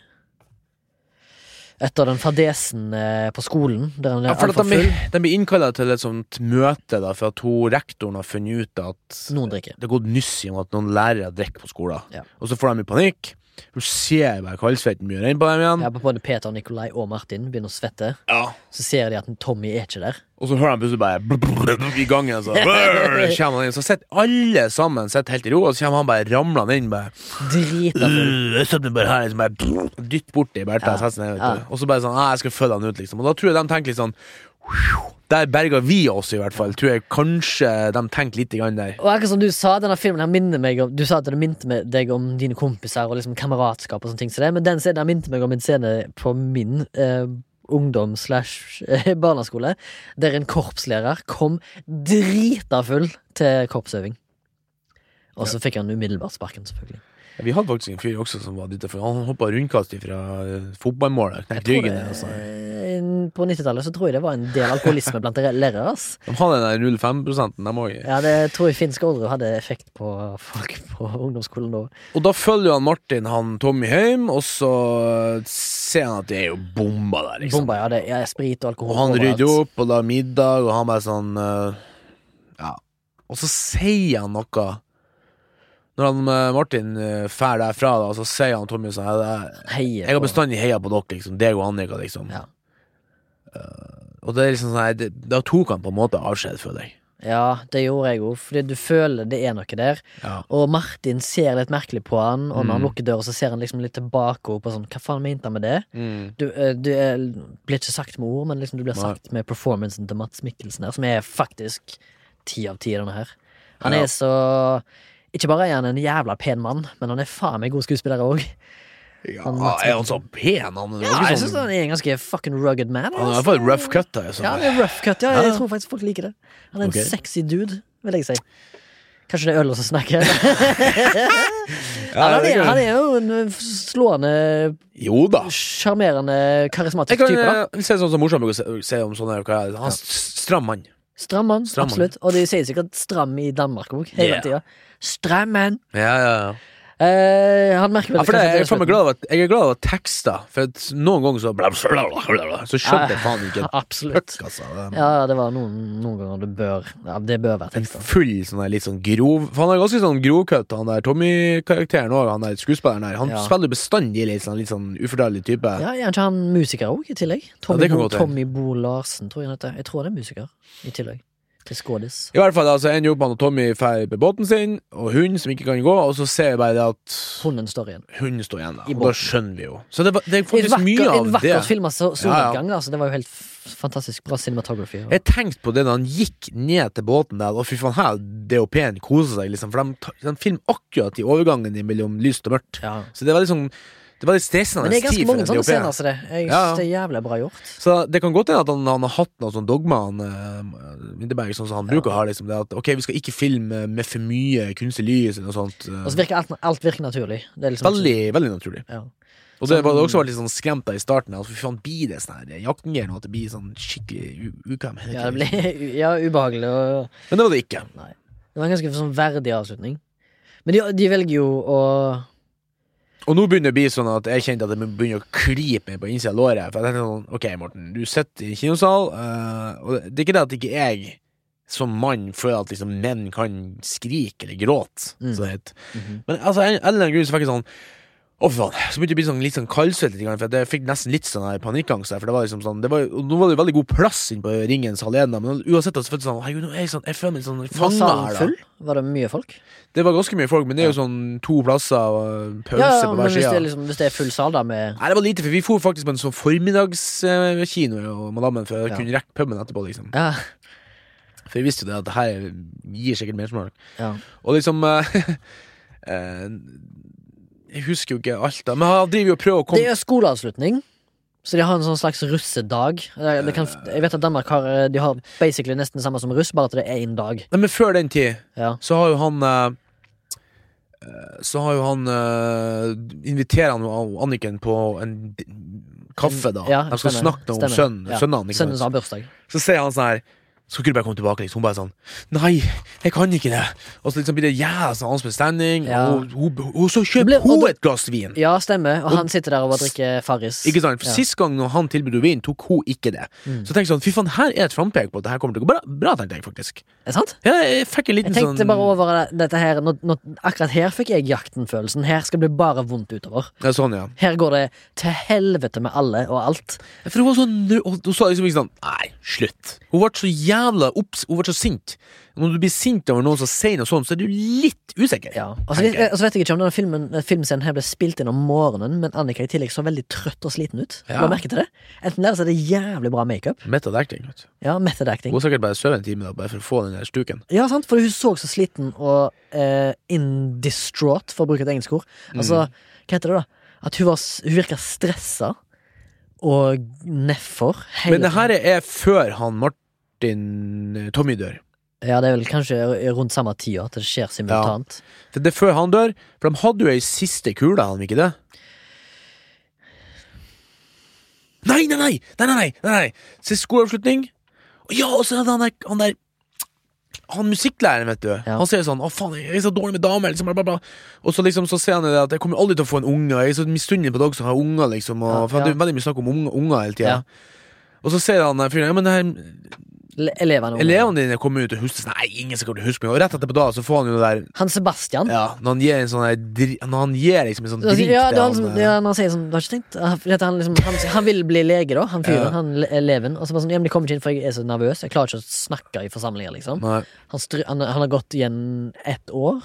S1: Etter den fadesen eh, på skolen, der han
S2: Ja,
S1: er
S2: for at
S1: altfor
S2: de,
S1: full.
S2: de blir innkalla til et sånt møte da, for at hun, rektoren har funnet ut at
S1: Noen drikker.
S2: det har gått nyss i om at noen lærere drikker på skolen.
S1: Ja.
S2: Og så får de i panikk. Hun ser bare kvalsvetten begynner inn på dem igjen.
S1: Ja, på både Peter, Nikolai og Martin begynner å svette.
S2: Ja.
S1: Så ser de at Tommy er ikke der.
S2: Og så hører de plutselig bare brr, brr, brr, i gangen. Så, brr, kommer han inn, så sitter alle sammen sitter helt i ro, og så kommer han bare ramlende inn. Bare,
S1: Drita full.
S2: «Øh, jeg setter meg bare her liksom, bare, brr, Dytt borti Bertha.
S1: Ja.
S2: setter seg ned, vet
S1: Ja.
S2: du. Og så bare sånn «Ah, Jeg skal følge han ut, liksom. Og da tror jeg de tenker litt sånn «Phew, Der berga vi oss, i hvert fall. Tror jeg kanskje de tenker litt grann der.
S1: Og akkurat som du sa, denne filmen her minner meg om Du sa at den minte meg- deg om dine kompiser og liksom kameratskap og sånne ting som det, men den scenen her minte meg om en scene på min eh, ungdom slash eh, barneskole, der en korpslærer kom drita full til korpsøving. Og så fikk han umiddelbart sparken, selvfølgelig.
S2: Ja, Vi hadde faktisk en fyr også som var dytta for Han hoppa rundkast fra fotballmålet. Knekte
S1: Tror
S2: ryggen.
S1: det-
S2: Altså.
S1: en- På 90-tallet så tror jeg det var en del alkoholisme blant dere lærere. ass.
S2: De hadde den der 0,5-prosenten, dem òg.
S1: Ja, det tror jeg Finn Skårderud hadde effekt på folk på ungdomsskolen da.
S2: Og da følger jo han Martin han Tommy hjem, og så eh, ser han at det er jo bomba der, liksom.
S1: Bomba, ja, det er sprit og alkohol
S2: Og han
S1: overalt.
S2: rydder opp og lager middag, og han bare sånn eh, Ja. Og så sier han noe. Når han, eh, Martin eh, drar derfra, da, så sier han Tommy sånn jeg,
S1: Heier
S2: jeg har
S1: på-
S2: bestandig heia på dere, liksom. Deg og Annika, liksom.
S1: Ja.
S2: Eh, og det er liksom sånn her, det, Da tok han på en måte avskjed fra deg.
S1: Ja, det gjorde jeg òg, fordi du føler det er noe der.
S2: Ja.
S1: Og Martin ser litt merkelig på han, og når han
S2: Mm.
S1: lukker døra, så ser han liksom litt tilbake og på sånn Hva faen mente han med det? Du, eh, du er, blir ikke sagt med ord, men liksom du blir
S2: Mm. Nei.
S1: sagt med performancen til Mats Mikkelsen her, som er faktisk ti av ti, i denne her. Han
S2: Ja.
S1: er så Ikke bare er han en jævla pen mann, men han er faen meg god skuespiller òg.
S2: Ja,
S1: Han-
S2: er han så pen, han? Det er
S1: Ja, jeg
S2: ganske sånn-
S1: syns han er en ganske fucking rugged man.
S2: han er i
S1: altså.
S2: hvert fall rough cut. Da, altså.
S1: Ja, han er rough cut, ja.
S2: Ja,
S1: Jeg
S2: ja.
S1: tror faktisk folk liker det. Han er en
S2: Ok.
S1: sexy dude, vil jeg si. Kanskje det er ølet som snakker.
S2: Ja,
S1: han,
S2: det
S1: er,
S2: kan-
S1: han er jo en eh, slående,
S2: Jo da.
S1: sjarmerende,
S2: Jeg
S1: karismatisk
S2: kan
S1: type. da
S2: eh, se sånn som morsomt å se, se om sånne hva er det? Han s- stram mann.
S1: Stram mann,
S2: Stram mann.
S1: absolutt. Og de sier sikkert 'stram' i Danmark òg, hele
S2: Yeah.
S1: tida. Stram mann.
S2: Ja, ja, ja.
S1: Eh, han merker vel
S2: for det,
S1: kanskje
S2: jeg, er
S1: til
S2: faen meg
S1: slutten.
S2: glad over at, jeg er glad over tekster, for at noen ganger så bla, bla, bla, bla, bla, Så skjønte jeg faen ikke et
S1: Absolutt.
S2: fuck, altså. Det
S1: Ja, det var noen, noen ganger det bør ja, Det bør være
S2: er En
S1: tekster.
S2: full sånn der, litt sånn grov For han er ganske sånn grovkøtt, han der Tommy-karakteren òg, han der skuespilleren der. Han
S1: Ja.
S2: spiller bestandig litt sånn, litt sånn ufordelelig type.
S1: Ja, Er ikke han musiker òg, i tillegg? Tommy,
S2: det kan
S1: Bo,
S2: godt hende.
S1: Tommy Bo Larsen, tror jeg han heter. Jeg tror han er musiker, i tillegg. Til skådis.
S2: I hvert fall altså, ender jo opp med at Tommy drar på båten sin, og hunden som ikke kan gå, og så ser jeg bare det at
S1: Hunden står igjen.
S2: hunden står igjen, da.
S1: I båten.
S2: Og da skjønner vi jo. Så det, var- det er
S1: En
S2: faktisk mye
S1: vakker, en
S2: av det.
S1: vakkert filma
S2: Ja, ja.
S1: soloppgang. Altså, det var jo helt f- fantastisk bra cinematography. Og,
S2: Jeg tenkte på det da han gikk ned til båten der, og fy faen, her det er jo pen koser seg, liksom, for de, ta- de filmer akkurat i overgangen mellom lyst og mørkt.
S1: ja.
S2: Så det var liksom Det var litt stressende
S1: Men det er ganske
S2: tid for
S1: mange
S2: en
S1: sånne
S2: DOP.
S1: scener altså. som det. Jeg
S2: Ja, ja.
S1: synes det er jævlig bra gjort.
S2: Så det kan godt hende at han, han har hatt noe sånn dogma, han eh, Winterberg, sånn som han bruker å ha, liksom. Det at ok, vi skal ikke filme med for mye kunstig lys eller noe sånt. eh.
S1: Og så virker alt, alt virker naturlig. Det er liksom
S2: veldig, veldig naturlig.
S1: Ja.
S2: Og det var det også var litt sånn skremt av i starten. Altså, fy faen, blir det sånn her jaktgevær nå? At det blir sånn skikkelig u- ukvem?
S1: Ja, det ble ja, ubehagelig. Og
S2: Men det var det ikke.
S1: det var en ganske sånn verdig avslutning. Men de, de velger jo å
S2: Og nå begynner det å bli sånn at jeg kjente at det begynner å krype meg på innsida av låret. For jeg tenkte sånn, ok, Morten, du sitter i en kinosal, eh, og det- det er ikke det at ikke jeg som mann føler at liksom menn kan skrike eller gråte,
S1: Mm.
S2: så det heter.
S1: Mhm.
S2: Men altså, en, en eller annen grunn så fikk jeg sånn å, fy faen. Så begynte jeg å bli sånn, litt sånn kaldsvett, litt grann, for at jeg fikk nesten litt sånn her panikkangst. der, For det var liksom sånn, det var, og nå var det veldig god plass inne på ringens allé, da, men uansett så følte jeg sånn, herregud, nå er jeg sånn, jeg føler meg litt sånn
S1: Var
S2: fanget her,
S1: salen
S2: da.
S1: full? Var det mye folk?
S2: Det var ganske mye folk, men det er jo sånn to plasser og pause
S1: ja, ja, men
S2: på hver
S1: hvis det,
S2: side.
S1: er liksom, hvis det er full sal, da, med
S2: Nei, det var lite, for vi for faktisk på en sånn formiddagskino og madammen for å
S1: Ja.
S2: kunne rekke puben etterpå, liksom.
S1: Ja.
S2: For vi visste jo det at det her gir sikkert mersmak.
S1: ja.
S2: Og liksom eh, eh, Jeg husker jo ikke alt, da, men han driver jo og prøver å
S1: Det
S2: komme
S1: er skoleavslutning. Så de har en sånn slags russedag. Eh, Det kan, jeg vet at Danmark har eh, De har basically nesten det samme som russ, bare at det er én dag.
S2: Nei, men før den tid
S1: Ja.
S2: så har jo han eh, eh, så har jo han uh, Inviterer han jo Anniken på en d- kaffe, da.
S1: Ja,
S2: De skal
S1: stemmer,
S2: snakke om
S1: stemmer.
S2: sønnen.
S1: Ja.
S2: sønnen, ikke sant?
S1: Sønnen som har bursdag.
S2: Så sier han sånn her Skal ikke du bare komme tilbake? Liksom. Hun bare sånn Nei, jeg kan ikke det. Og så liksom blir det jævla sånn hans bestemning,
S1: Ja.
S2: og, hun- hun- og så kjøper
S1: ble- og
S2: hun
S1: det-
S2: et glass vin.
S1: Ja, stemmer. Og han sitter der og bare drikker Farris.
S2: Ikke sant? For
S1: Ja. Mm.
S2: Sist gang når han tilbød henne vin, tok hun ikke det. Så tenkte jeg sånn, fy faen, her er et frampek på at det her kommer til å gå bra. Bra, tenkte jeg faktisk.
S1: Er det sant?
S2: Ja, jeg fikk en liten
S1: Jeg tenkte
S2: sånn
S1: bare over dette her nå, nå, Akkurat her fikk jeg jakten-følelsen. Her skal det bli bare vondt utover.
S2: ja, sånn, ja.
S1: Her går det til helvete med alle og alt.
S2: For hun var sånn nø- og Hun sa liksom ikke sånn Nei, slutt. Hun ble så jævla opps... Hun ble så sint. Når du blir sint over noen som sier noe sånt, så er du litt usikker.
S1: Ja. Og så
S2: tenker
S1: vet,
S2: jeg.
S1: og så vet jeg ikke om denne filmen, eh, filmscenen her ble spilt inn om morgenen, men Annika i tillegg så veldig trøtt og sliten ut.
S2: Ja.
S1: Har du merket til det? Enten der så er det jævlig bra makeup.
S2: Method acting, vet du.
S1: Ja, method acting.
S2: Hun har sikkert bare sovet en time da, bare for å få den der stuken.
S1: Ja, sant, for hun så så sliten og eh, in distraught, for å bruke et engelsk ord.
S2: Mm.
S1: Altså, hva heter det da? At hun, var, s- hun virka stressa og nedfor hele
S2: Men det her er før han Martin eh, Tommy dør.
S1: Ja, det er vel kanskje r- rundt samme tida at det skjer simultant.
S2: For det er før han dør, for de hadde jo ei siste kule, hadde de ikke det? Nei, nei, nei! nei, nei, nei, nei, nei. Siste skoleavslutning. Og Ja, og så hadde han der, han der han musikklæreren, vet du.
S1: Ja.
S2: Han sier sånn 'Å, faen, jeg er så dårlig med damer', liksom. Bla, bla, bla. Og så liksom så sier han det at 'Jeg kommer aldri til å få en unge', og 'jeg er så misunnelig på dere som har unger', liksom. Og,
S1: Ja,
S2: for
S1: ja.
S2: Det er veldig mye snakk om unge- unger hele tida.
S1: Ja.
S2: Og så sier han der fyren 'Ja, men det her
S1: Le- Elevene og
S2: Elevene dine kommer ut og husker sånn, Nei, ingen skal huske meg Og rett etterpå da så får han jo det der
S1: Han Sebastian.
S2: ja, Når han gir en sånn der dri- Når han gir liksom en sånn
S1: Altså,
S2: drink
S1: ja, det
S2: til
S1: er han, som,
S2: han, eh,
S1: ja, når han sier sånn, du har ikke tenkt han, fordi at han, liksom, han, han vil bli lege, da. Han fyren.
S2: Ja.
S1: Han le- eleven. Og så bare sånn, ja, men de kommer ikke inn, for jeg er så nervøs. Jeg klarer ikke å snakke i forsamlinger, liksom.
S2: eh, Nei,
S1: Han, stry, han, han har gått igjen ett år.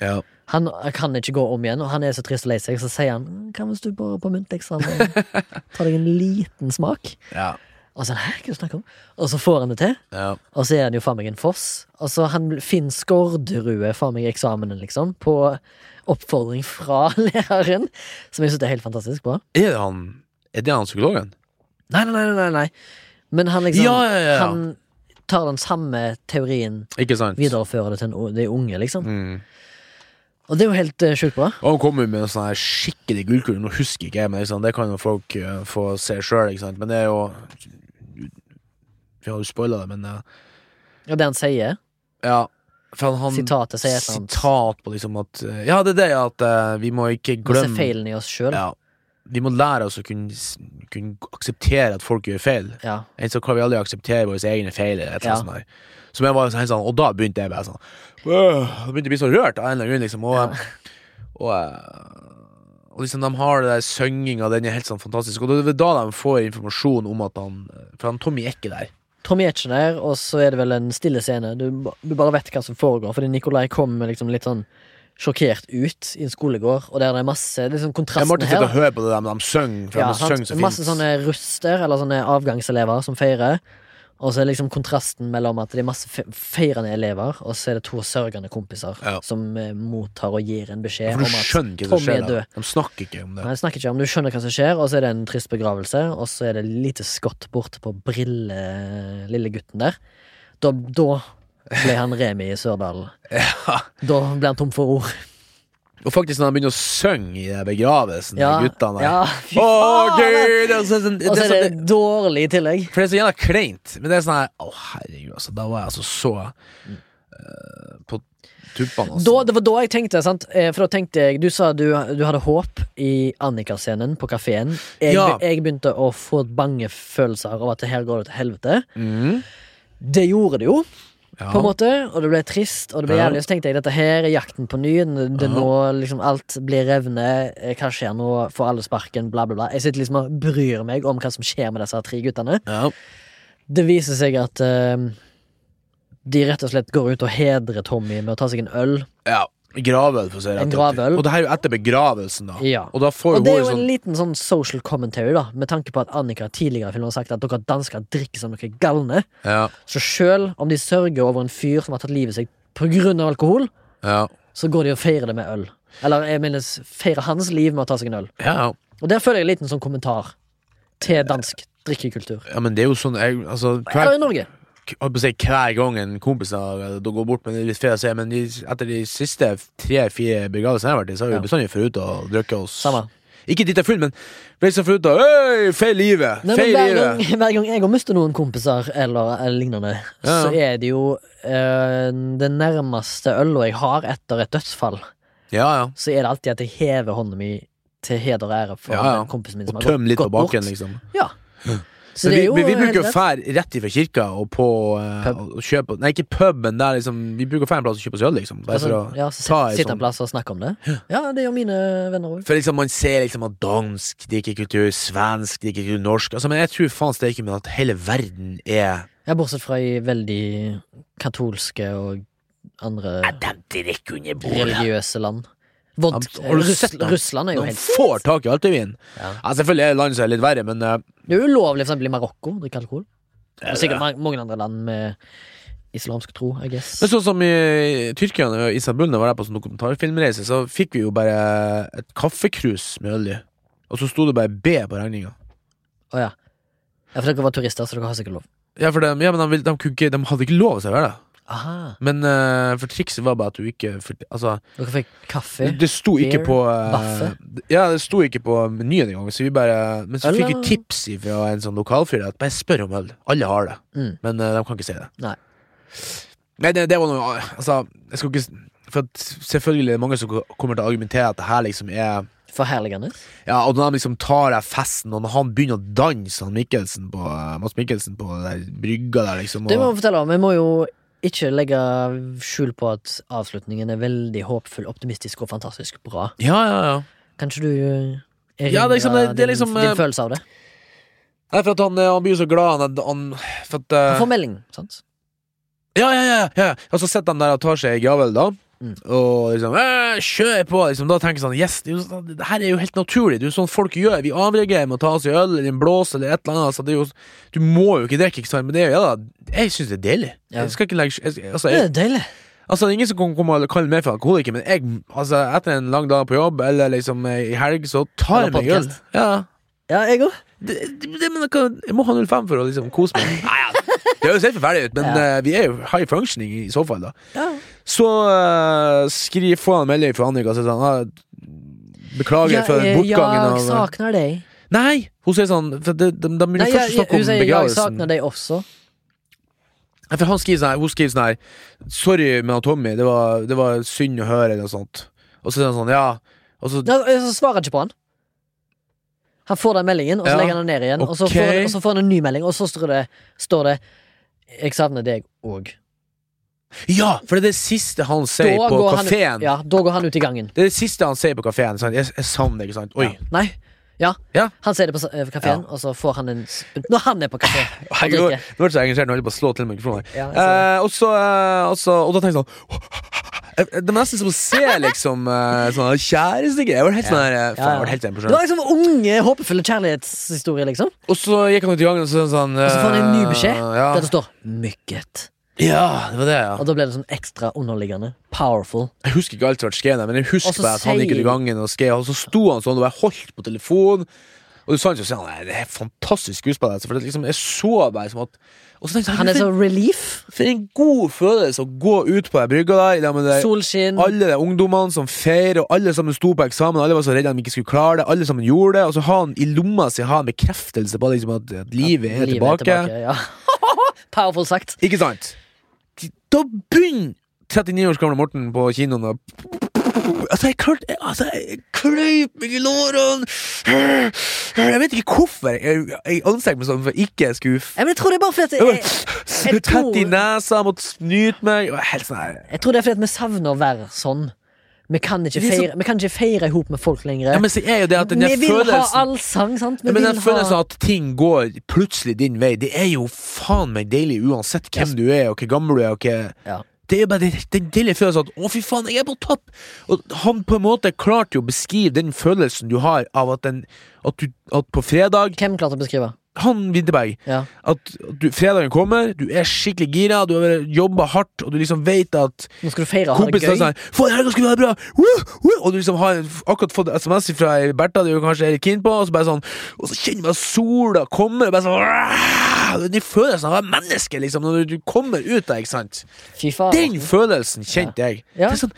S2: ja.
S1: Han kan ikke gå om igjen, og han er så trist og lei seg. Så sier han "Mm, Hva hvis du bare på mynteksamen tar deg en liten smak?
S2: Ja,
S1: Og så, Hæ, hva er det du snakker om? Og så får han det til,
S2: ja.
S1: og så er han jo faen meg en foss. Og så han Finn Skårderud faen meg eksamenen, liksom, på oppfordring fra læreren. Som jeg syns er helt fantastisk bra.
S2: Er det han Er det han psykologen?
S1: Nei, nei, nei, nei, nei. Men han liksom
S2: Ja, ja, ja, ja.
S1: Han tar den samme teorien,
S2: Ikke sant?
S1: viderefører det til en o- de unge, liksom.
S2: Mm.
S1: Og det er jo helt eh, sjukt bra.
S2: Og han kommer med en sånn her skikkelig gullkul Nå husker ikke jeg, men liksom, det kan jo folk eh, få se selv Ikke sant? Men det er jo Vi har jo spoilet det, men eh,
S1: Og det han sier,
S2: Ja, for han
S1: Sitatet sier et eller annet.
S2: Sitat på liksom at eh, Ja, det er det at eh, vi må ikke
S1: disse
S2: glemme
S1: feilene i oss sjøl.
S2: Ja. Vi må lære oss å kunne, s- kunne akseptere at folk gjør feil.
S1: Ja.
S2: Ellers så kan vi aldri akseptere våre egne feil. Eller et eller
S1: Ja.
S2: annet sånt der. Som jeg var sånn, sånn, og da begynte jeg bare sånn «Åh», Jeg begynte å bli så rørt av en eller annen grunn. Liksom, og, og, eh, og liksom, de har det der synginga, den er helt sånn fantastisk. Og det er da de får informasjon om at han For han Tommy er ikke der.
S1: Tommy er ikke der, og så er det vel en stille scene. Du, ba- du bare vet hva som foregår, fordi Nikolai kommer liksom litt sånn sjokkert ut i en skolegård, og der det er masse det er sånn
S2: Jeg
S1: kontrasten
S2: måtte sitte
S1: her.
S2: og
S1: da.
S2: høre på det der, men de synger. For
S1: Ja,
S2: de synger
S1: sant?
S2: så fint.
S1: masse sånne ruster, eller sånne avgangselever, som feirer. Og så er liksom kontrasten mellom at det er masse fe- feirende elever, og så er det to sørgende kompiser
S2: Ja.
S1: som eh, mottar og gir en beskjed
S2: For
S1: om
S2: du
S1: at
S2: skjønner ikke hva som
S1: Tommy er
S2: skjer.
S1: død.
S2: da. De snakker ikke om det.
S1: Nei, jeg snakker ikke om Du skjønner hva som skjer, og så er det en trist begravelse, og så er det lite skott bort på brille lille gutten der. Da, da ble han Remi i Sørdalen. Da ble han tom for ord.
S2: Og faktisk når han begynner å synge i den begravelsen ja.
S1: Ja,
S2: guttene der.
S1: ja, fy
S2: Å,
S1: faen!
S2: Gud! Og så er det sånn- det
S1: Og så
S2: er
S1: er
S2: sånn-
S1: det dårlig i tillegg.
S2: For det er så jævla kleint, men det er sånn her Å, herregud, altså. Da var jeg altså så eh, på tuppene, altså.
S1: Da, det var da jeg tenkte, sant? Eh, for da tenkte jeg Du sa du, du hadde håp i Annika-scenen på kafeen. Jeg,
S2: Ja.
S1: jeg begynte å få bange følelser av at det her går det til helvete.
S2: Mhm.
S1: Det gjorde det jo,
S2: ja.
S1: på en måte, og det ble trist, og det ble
S2: Ja.
S1: jævlig. Så tenkte jeg dette her er jakten på ny. Det, det
S2: Ja.
S1: nå liksom Alt blir revne. eh, Hva skjer nå? Får alle sparken? Bla, bla, bla. Jeg sitter liksom og bryr meg om hva som skjer med disse tre guttene.
S2: Ja.
S1: Det viser seg at eh, de rett og slett går ut og hedrer Tommy med å ta seg en øl.
S2: ja. Gravøl, for å si det.
S1: En
S2: rett ut.
S1: gravøl.
S2: Og det her er jo etter begravelsen, da.
S1: Ja.
S2: Og da får
S1: Og
S2: jo
S1: det er
S2: hun
S1: jo en
S2: sånn
S1: liten sånn social commentary, da, med tanke på at Annika tidligere i filmen har sagt at dere dansker drikker som dere er galne.
S2: Ja,
S1: Så sjøl om de sørger over en fyr som har tatt livet sitt pga. alkohol,
S2: ja.
S1: så går de og feirer det med øl. Eller jeg minnes feirer hans liv med å ta seg en øl.
S2: Ja, ja.
S1: Og der føler jeg en liten sånn kommentar til dansk drikkekultur.
S2: ja, men det er jo sånn jeg, altså,
S1: Eller
S2: hver,
S1: i Norge.
S2: k- holdt på å si, hver gang en kompis har eh, da går bort med det er litt feil å si, men de, etter de siste tre-fire begravelsene jeg har vært i, så har vi
S1: Ja.
S2: bestandig forut og drukket oss
S1: Samme.
S2: Ikke dit jeg er full, men liksom forut og Øy, feil livet!
S1: Nei, men
S2: Feil
S1: hver,
S2: livet!
S1: gang, hver gang jeg har mistet noen kompiser eller, eller lignende,
S2: Ja.
S1: så er det jo eh, det nærmeste øla jeg har etter et dødsfall.
S2: Ja, ja.
S1: så er det alltid at jeg hever hånda mi til heder og ære for
S2: Ja, ja.
S1: den kompisen min som
S2: Og
S1: har
S2: tøm
S1: gått,
S2: litt
S1: gått
S2: på
S1: bort.
S2: baken, liksom.
S1: Ja. Så det
S2: Men vi,
S1: er jo eh,
S2: vi, vi
S1: helt
S2: bruker å
S1: rett.
S2: fære rett ifra kirka og på eh,
S1: Pub.
S2: og kjøpe Nei, ikke pub, men der liksom Vi bruker å fære en plass og kjøpe oss øl, liksom. Bare for,
S1: Altså,
S2: å,
S1: ja, så
S2: ta i
S1: sitt- Sitte
S2: sånn.
S1: en plass og snakke om det. Ja, det gjør mine venner òg.
S2: for liksom man ser liksom at dansk drikkekultur, svensk drikkekultur, norsk Altså, Men jeg tror faen steike meg at hele verden er
S1: Ja, bortsett fra i veldig katolske og andre
S2: De drikker under
S1: religiøse land. Vod,
S2: Ja, har du
S1: Russ,
S2: sett det?
S1: Russland er jo
S2: De
S1: helt
S2: får tak i altevin.
S1: Ja.
S2: Ja, selvfølgelig er det land som er litt verre, men eh,
S1: Det er jo ulovlig for eksempel i Marokko å drikke alkohol.
S2: det
S1: Og sikkert ma- mange andre land med islamsk tro, I guess.
S2: Men sånn som i Tyrkia og Istanbul, da jeg var der på sånn dokumentarfilmreise, så fikk vi jo bare et kaffekrus med øl i. Og så sto det bare B på regninga.
S1: Å, ja. ja, for dere var turister, så dere har sikkert lov.
S2: Ja, for de, ja, men de, ville- de, kunne ikke, de hadde ikke lov til å servere det.
S1: Aha.
S2: Men eh, for trikset var bare at du ikke for, Altså,
S1: Dere fikk kaffe.
S2: det sto ikke
S1: beer,
S2: på eh,
S1: baffe.
S2: Ja, det sto ikke på menyen engang, så vi bare Men så
S1: Øl,
S2: fikk vi
S1: da?
S2: tips fra en sånn lokalfyr at bare spør om øl. Alle har det,
S1: Mm.
S2: men eh, de kan ikke si det.
S1: Nei.
S2: Nei, det, det var noe Altså, jeg skal ikke s- For at selvfølgelig er det mange som kommer til å argumentere at det her liksom er
S1: Forherligende.
S2: Ja, og når de liksom tar av festen, og når han begynner å danse, han Mikkelsen på, eh, Mads Mikkelsen på den der brygga der, liksom
S1: Det må
S2: og,
S1: vi fortelle om. Vi må jo ikke legge skjul på at avslutningen er veldig håpfull, optimistisk og fantastisk bra.
S2: Ja, ja, ja.
S1: Kanskje du eh, erindrer
S2: Ja, det er liksom- det- det er liksom,
S1: din,
S2: eh,
S1: din følelse av det?
S2: Nei, for at han, eh, han blir jo så glad, han, han For at eh,
S1: Han får melding, sant?
S2: Ja, ja, ja, ja. Og så sitter han der og tar seg en gravøl, da.
S1: Mm.
S2: Og liksom «Eh, Kjør på! Liksom, da tenker jeg sånn Yes, det, er jo sånn- det her er jo helt naturlig. Det er jo sånn folk gjør. Vi avreagerer med å ta oss en øl eller en blås eller et eller annet. Så det er jo, du må jo ikke drikke, ikke sant? Men det er jo ja, da, jeg syns det er deilig.
S1: Ja.
S2: Jeg skal ikke legge jeg, altså,
S1: Det
S2: jeg,
S1: er deilig.
S2: Altså, det er ingen som kan komme og kalle meg for alkoholiker, men jeg, altså, etter en lang dag på jobb, eller liksom eh, i helg, så tar jeg
S1: Eller
S2: meg øl.
S1: podcast.
S2: Ja.
S1: Ja, jeg òg.
S2: Det, det, det, men jeg kan- jeg må ha 05 for å liksom kose meg. Nei, ja. Det høres helt forferdelig ut, men
S1: Ja.
S2: eh, vi er jo high functioning i så fall, da.
S1: Ja.
S2: Så eh, skriv, få en melding fra Annika og si sånn ah, Beklager
S1: Ja,
S2: for
S1: eh,
S2: bortgangen
S1: jeg
S2: av
S1: savner deg.
S2: Nei! Hun sier sånn for De, de, de begynner
S1: Nei,
S2: først å
S1: jeg, jeg,
S2: snakke
S1: hun
S2: om
S1: sier jeg
S2: begravelsen.
S1: savner deg også.
S2: Nei, For han skriver sånn her, hun skriver sånn her Sorry med han Tommy, det var, det var synd å høre eller noe sånt Og så er han sånn, ja Og så,
S1: Ja, jeg svarer ikke på han. Han får den meldingen, og så
S2: Ja.
S1: legger han den ned igjen. Og, så
S2: Ok.
S1: får han, og så får han en ny melding, og så står det, står det 'Jeg savner deg òg'.
S2: ja, for det er det siste han sier
S1: Da
S2: på
S1: går han ut-
S2: kaféen
S1: Ja, da går han ut i gangen.
S2: Det er det siste han sier på kaféen sant? jeg, jeg savner deg, ikke sant? Oi,
S1: Ja. Nei. Ja.
S2: Ja.
S1: Han sier det på kafeen, og så får han en sp- Når han er på kafé og
S2: Herregud,
S1: drikker.
S2: nå ble jeg så engasjert, nå holder jeg på å slå til mikrofonen her
S1: Ja, jeg ser det.
S2: eh, og, så, eh, og så, og da tenkte jeg sånn Eh, Det var nesten som å se liksom eh, sånn kjærestegreier. Jeg var helt sånn her eh, Faen, jeg var helt enig på
S1: Det var
S2: sjøen.
S1: liksom unge, håpefulle kjærlighetshistorie, liksom.
S2: Og så gikk han ut i gangen og så sånn
S1: Og så får han en ny beskjed
S2: eh,
S1: der det står 'mykket'.
S2: Ja. ja, det var det, ja.
S1: Og da ble det sånn ekstra underliggende. Powerful.
S2: Jeg husker ikke alt som ble skrevet, men jeg
S1: Og så
S2: husker bare at han gikk ut i
S1: sier-
S2: gangen og skrev, og så sto han sånn og bare holdt på telefonen. Og du sa ikke sånn, nei, det er fantastisk skuespill. Altså, for det liksom, jeg så bare som at Og så tenkte jeg, sånn,
S1: Han er så relief.
S2: for, for en god følelse å gå ut på den brygga der, i lag med de-
S1: Solskinn.
S2: alle de ungdommene som feirer, og alle sammen sto på eksamen, alle var så redde de ikke skulle klare det, alle sammen gjorde det, og så har han i lomma si har han bekreftelse på liksom, at, at livet er
S1: Livet
S2: tilbake.
S1: ja. Powerful sagt.
S2: Ikke sant? Da begynner 39 års gamle Morten på kinoen og Altså, jeg klarte jeg- altså, Jeg kløyp meg i lårene! Jeg vet ikke hvorfor jeg, jeg anstrengte meg sånn for ikke jeg skulle f-
S1: Ja, men jeg tror det er bare fordi at
S2: Jeg
S1: jeg,
S2: var
S1: jeg tror-
S2: tett i nesa, måtte snyte meg Jeg var helt sånn her
S1: jeg tror det er fordi at vi savner å være sånn. Vi kan ikke
S2: Det er så-
S1: feire Vi kan ikke feire i hop med folk lenger.
S2: ja, Men så er jo det at den der
S1: vi vil ha
S2: følelsen
S1: allsang, sant? Vi
S2: ja, men den
S1: vil
S2: følelsen
S1: ha-
S2: at ting går plutselig din vei, det er jo faen meg deilig uansett hvem du er, og hvor gammel du er, og hva
S1: ja.
S2: Det er jo bare den- den deilige følelsen at 'å, fy faen, jeg er på topp'. Og han på en måte klarte jo å beskrive den følelsen du har av at, den, at, du, at på fredag
S1: Hvem klarte å beskrive?
S2: Han Winterberg.
S1: Ja.
S2: At du, fredagen kommer, du er skikkelig gira, du har jobba hardt, og du liksom vet at
S1: Nå skal du feire og ha det
S2: kompisen
S1: gøy.
S2: er sånn 'Faen, helga skal være bra!' Woo, woo! Og du liksom har akkurat fått SMS fra ei Bertha du kanskje er litt keen på, og så bare sånn Og så kjenner man at sola kommer, og bare sånn «Åh!» Den følelsen av å være menneske, liksom, når du kommer ut der, ikke sant?
S1: Fy faen.
S2: Den følelsen kjente jeg.
S1: Ja.
S2: Det er sånn,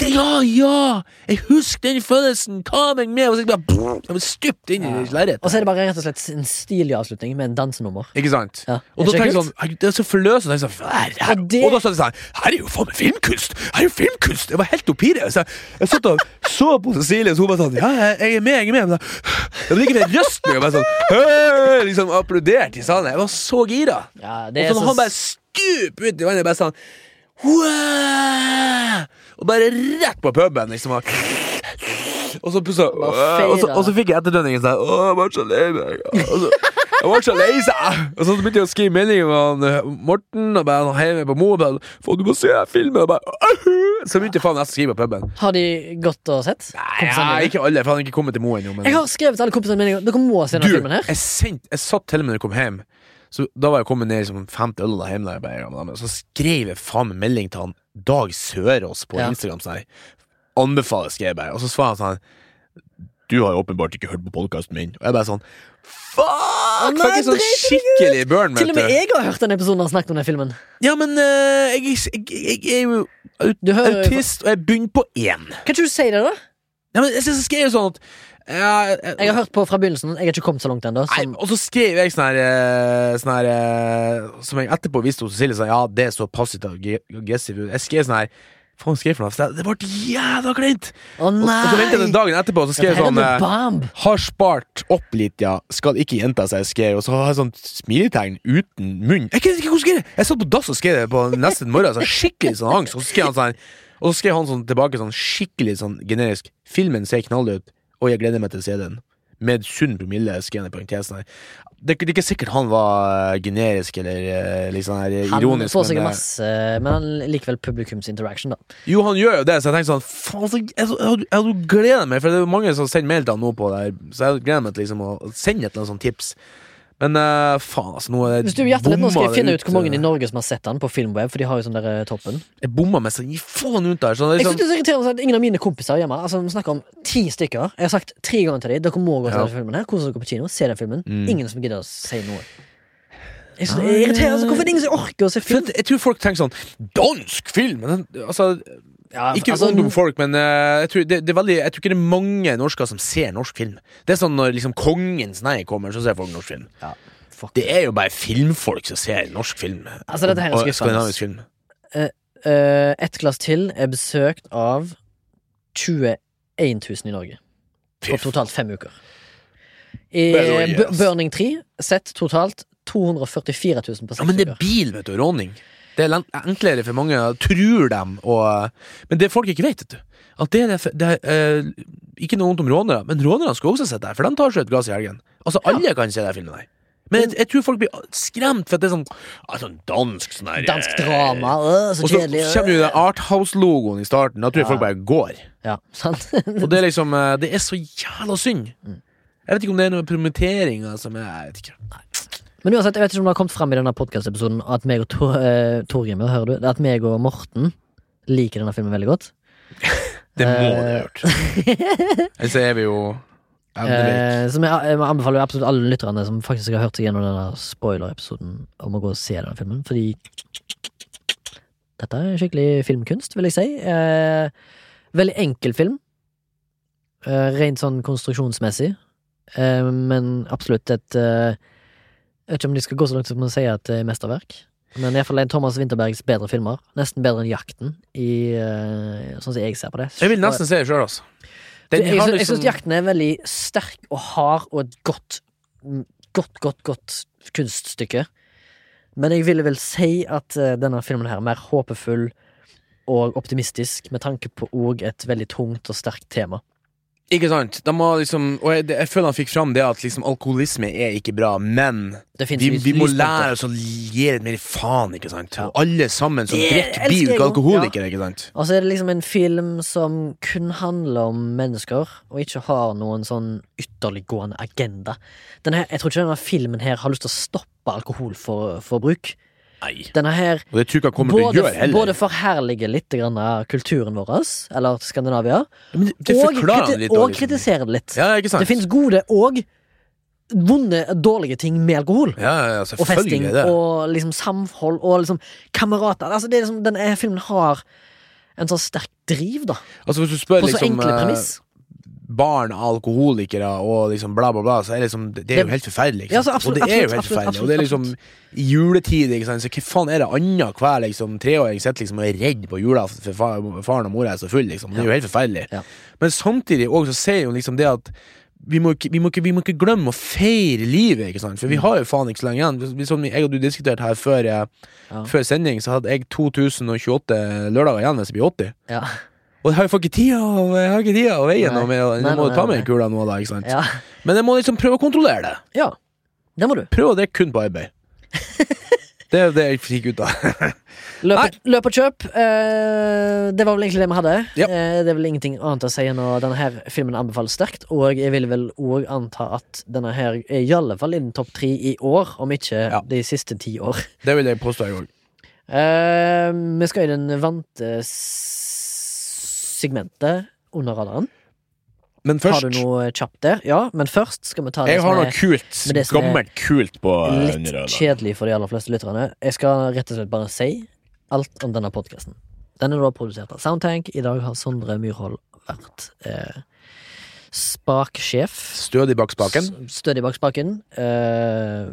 S2: det, ja, ja! Jeg husker den følelsen! Ta meg med! Og så bare jeg ble stupt inn i
S1: Og
S2: lerretet.
S1: så er det bare rett og slett en stilig avslutning med en dansenummer.
S2: Ikke sant?
S1: Ja.
S2: Og da
S1: Er ikke
S2: tenker jeg
S1: kult?
S2: sånn «Herregud, Det er så forløsende. Jeg sånn, sa, her, her.
S1: Og det-
S2: Og da sa jeg sånn Her er jo faen meg filmkunst! Her er jo filmkunst! Jeg var helt oppi det. Så jeg, jeg satt og så på Cecilie, og så hun bare sånn Ja, jeg- jeg er med, jeg er med. Men da, jeg ble ikke den røsten. Jeg bare sånn «Hei!» Liksom applaudert i salen. Jeg var så gira.
S1: Ja, det er
S2: Og så
S1: så
S2: når han bare stuper ut i vannet bare sånn «Wow!» Og bare rett på puben, liksom. Og, og så plutselig
S1: Bare
S2: og, så,
S1: fader.
S2: og så fikk jeg etterdønningen sånn Å, jeg var så lei meg. Og så, altså, jeg var så lei seg. Og så begynte jeg å skrive meldinger med han eh, Morten og bare han heiv meg på mobilen. Få, du må se filmen! Og bare «Ahu!» Så begynte jeg faen nesten å skrive på puben.
S1: Har de gått og sett?
S2: Ja,
S1: Kompisene dine?
S2: ikke alle, for han har ikke kommet til Mo ennå. men-
S1: Jeg har skrevet til alle kompisene mine. Dere må se denne
S2: du,
S1: filmen her.
S2: Jeg, sendt, jeg satt til og med når jeg kom hjem. Så da var jeg kommet ned i liksom, femte øl da hjemme. Der, jeg bare, ja, men, men, så skrev jeg faen meg melding til han Dag Sørås på
S1: Ja.
S2: Instagram. Sånn, her, Anbefales, skrev jeg bare. Og så svarer han sånn Du har åpenbart ikke hørt på podkasten min. Og jeg bare sånn Fuck!
S1: nei,
S2: Fikk jeg sånn
S1: dreit meg
S2: skikkelig burn.
S1: Til og med
S2: vet du.
S1: jeg har hørt den episoden han snakket om den filmen.
S2: Ja, men eh, jeg, jeg, jeg, jeg er jo aut
S1: Du hører jo-
S2: autist, og jeg begynner på én.
S1: Kan ikke du si det, da?
S2: Ja, men jeg, så skrev jeg sånn at ja,
S1: Jeg har hørt på fra begynnelsen. Jeg har ikke kommet så langt ennå.
S2: Nei,
S1: som-
S2: og så skrev jeg sånn her, eh, sånn her eh, Som jeg etterpå viste hos Cecilie. Sånn, ja, det er så passivt og ag- aggressivt. ut. Jeg skrev sånn her Faen, skrev jeg for noe? For Det ble jævla kleint!
S1: Å
S2: Og, og så ventet jeg den
S1: nei!
S2: dagen etterpå, og så skrev jeg
S1: Dette
S2: sånn
S1: er
S2: eh,
S1: bomb!
S2: Har spart opp litt, ja. Skal ikke gjenta seg, skrev jeg. Og så har jeg sånn smiletegn uten munn. Jeg vet ikke hvordan skrev det Jeg satt på dass og skrev det på neste morgen. Sånn, skikkelig sånn angst. Og så skrev han sånn Og så skrev han sånn tilbake sånn skikkelig sånn generisk. Filmen ser knall ut, og jeg gleder meg til å se den. Med sunn promille, skrev han i parentesen her. Det, det er ikke sikkert han var generisk eller eh, liksom her, eh,
S1: Han
S2: ironisk.
S1: får
S2: men,
S1: sikkert
S2: eh,
S1: masse, men han likevel publikums interaction, da.
S2: jo, han gjør jo det, så jeg tenkte sånn Faen, så jeg, jeg, hadde- jeg hadde gledet meg, for det er jo mange som sender mail til han nå på det her, så jeg hadde gledet meg til liksom å sende et eller annet sånt tips. Men eh, faen, altså, nå er det
S1: Hvis du hjertelig nå skal
S2: bomma
S1: jeg
S2: det
S1: finne ut hvor mange i
S2: eh,
S1: Norge som har sett den på Filmweb, for de har jo sånn der eh, toppen.
S2: Jeg bomma meg så gi faen ut der. Sånn,
S1: Jeg synes
S2: liksom,
S1: det er så irriterende at ingen av mine kompiser hjemme Altså, vi snakker om ti stykker. Jeg har sagt tre ganger til dem dere må gå og se
S2: Ja.
S1: denne filmen. her Kos dere på kino, se den filmen.
S2: Mm.
S1: Ingen som gidder å si noe. Jeg synes det
S2: Nei.
S1: er irriterende altså, Hvorfor er det ingen som orker å se
S2: for
S1: film?
S2: jeg, jeg tror folk tenker sånn Dansk film! Men, den- altså,
S1: Ja,
S2: ikke
S1: altså,
S2: ungdomsfolk, men eh, jeg, tror, det, det er veldig, jeg tror ikke det er mange norsker som ser norsk film. Det er sånn når liksom Kongens nei kommer, så ser folk norsk film.
S1: Ja, fuck.
S2: Det er jo bare filmfolk som ser norsk film.
S1: Altså, dette her er
S2: og, og
S1: skuffende.
S2: skandinavisk film.
S1: Eh, Ett glass til er besøkt av 21 000 i Norge. På totalt fem uker. I
S2: Well, yes.
S1: Bu- Burning 3 sett totalt 244 000 på
S2: Ja,
S1: seks
S2: men det er
S1: uker.
S2: bil, vet du, råning. Det er len- enklere for mange, tror dem, og eh, Men det folk ikke vet, vet du At det er det, det er, eh, Ikke noe vondt om rånere, men rånerne skal også sitte der, for de tar seg et glass i helgen. Altså, alle kan se den filmen der. Men jeg, jeg tror folk blir skremt, for at det er sånn, ah, sånn dansk sånn der,
S1: Dansk
S2: eh,
S1: drama, øh, så
S2: Og så
S1: kjedelig. øh.
S2: kommer jo den Arthouse-logoen i starten. Da tror jeg folk bare går.
S1: Ja, sant?
S2: Og det er liksom eh, Det er så jævla synd.
S1: Mm.
S2: Jeg vet ikke om det er noe promotering som er Jeg vet ikke.
S1: Men uansett, jeg vet ikke om det har kommet frem i denne podcastepisoden at meg og Tor, eh, Torgrim, hører du, at meg og Morten liker denne filmen veldig godt. Eh,
S2: Det må du ha hørt. Ellers er vi jo Endelig.
S1: Eh, som jeg, jeg anbefaler jo absolutt alle lytterne som faktisk har hørt seg gjennom denne spoiler-episoden, om å gå og se denne filmen, fordi dette er skikkelig filmkunst, vil jeg si. Eh, veldig enkel film. Eh, rent sånn konstruksjonsmessig. Eh, men absolutt et eh, Jeg vet ikke om de skal gå så langt som å si at det er mesterverk. Men iallfall en Thomas Winterbergs bedre filmer. Nesten bedre enn Jakten, i, eh, sånn som jeg ser på det.
S2: Jeg vil nesten se det sjøl, altså. Den
S1: jeg
S2: har
S1: syns, jeg
S2: liksom-
S1: syns jakten er veldig sterk og hard og et godt, mm, godt, godt, godt kunststykke. Men jeg ville vel si at eh, denne filmen her er mer håpefull og optimistisk, med tanke på òg et veldig tungt og sterkt tema.
S2: Ikke sant? De har liksom, og jeg, jeg føler han fikk fram det at liksom, alkoholisme er ikke bra, men
S1: Det finnes
S2: vi,
S1: lys-
S2: vi må
S1: lyspunkter.
S2: lære oss å gi litt mer faen, ikke sant? Og alle sammen som
S1: Det
S2: drikker,
S1: elsker
S2: blir jo
S1: jeg
S2: ikke
S1: også.
S2: alkoholikere, ikke sant?
S1: Og så er det liksom en film som kun handler om mennesker, og ikke har noen sånn ytterliggående agenda. Den her, jeg tror ikke denne filmen her har lyst til å stoppe alkoholforbruk.
S2: Nei.
S1: Denne her
S2: Og det tror jeg ikke han kommer til å
S1: både,
S2: gjøre heller.
S1: både forherlige litt grann av kulturen vår, eller Skandinavia,
S2: Men det, det
S1: og, kriti-
S2: forklarer han litt
S1: og
S2: også, liksom.
S1: kritisere det litt.
S2: Ja, ikke sant?
S1: det finnes gode og vonde, dårlige ting med alkohol.
S2: ja, ja, ja,
S1: Og festing
S2: selvfølgelig er det.
S1: og liksom samhold og liksom kamerater. Altså, det er liksom, denne filmen har en sånn sterk driv, da.
S2: Altså, hvis du spør
S1: På så
S2: liksom,
S1: enkle
S2: eh,
S1: premiss.
S2: barn av alkoholikere og liksom bla, bla, bla, så er det liksom, det, det er
S1: Det-
S2: jo helt forferdelig. Ikke
S1: Ja,
S2: sant?
S1: så absolutt,
S2: og det er
S1: absolutt,
S2: jo helt
S1: absolutt,
S2: forferdelig. Og det er liksom
S1: absolutt,
S2: i juletid, ikke sant? så hva faen er det annet hver liksom, treåring sitter liksom, og er redd på jula for fa faren og mora er så full, liksom. Det er jo helt forferdelig.
S1: Ja.
S2: Men samtidig også så sier hun liksom det at vi må, ikke, vi, må ikke, vi må ikke glemme å feire livet, ikke sant? for
S1: Mm.
S2: vi har jo faen ikke så lenge igjen. Vi- Sånn, jeg og du diskuterte her før, eh,
S1: Ja.
S2: før sending, så hadde jeg 2028 lørdager igjen hvis jeg blir 80.
S1: Ja.
S2: Og jeg har jo faen ikke tid å- jeg har ikke tid å veie
S1: Nei.
S2: noe med Jeg
S1: Nei,
S2: må
S1: nei,
S2: jo ta
S1: nei,
S2: med kula nå, da. ikke sant?
S1: Ja.
S2: Men jeg må liksom prøve å kontrollere det.
S1: ja. Det må du.
S2: Prøve å drikke kun på arbeid. Det er jo det jeg fikk ut av.
S1: Løp, og- løp og kjøp. eh, det var vel egentlig det vi hadde.
S2: Ja.
S1: Eh, det er vel ingenting annet å si enn at denne her filmen anbefales sterkt. Og jeg vil vel òg anta at denne her er i alle fall innen topp tre i år, om ikke
S2: Ja.
S1: de siste ti år.
S2: Det vil jeg påstå jeg òg.
S1: Eh, vi skal i den vante s- segmentet under radaren.
S2: Men
S1: Har du
S2: først
S1: noe kjapt der? Ja, men først skal vi ta det
S2: Jeg
S1: som
S2: har noe
S1: er
S2: kult.
S1: men det som er
S2: Gammelt kult på eh,
S1: litt
S2: Nyrøda.
S1: kjedelig for de aller fleste lytterne. Jeg skal rett og slett bare si alt om denne podkasten. Den er da produsert av Soundtank. I dag har Sondre Myrhold vært eh, spaksjef.
S2: Stødig bak spaken.
S1: S- Stødig bak spaken. Eh,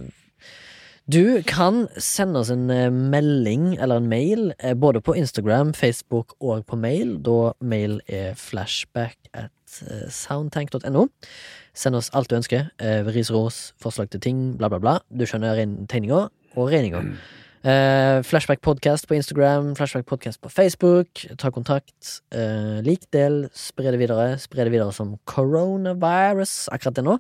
S1: du kan sende oss en eh, melding eller en mail eh, både på Instagram, Facebook og på mail, da mail er flashback at eh, soundtank.no. Send oss alt du ønsker. Eh, ris og ros, forslag til ting, bla, bla, bla. Du skjønner regn- tegninga og regninga. Eh, flashback podcast på Instagram, flashback podcast på Facebook. Ta kontakt. Eh, lik, del, spre det videre. Spre det videre som coronavirus akkurat det nå.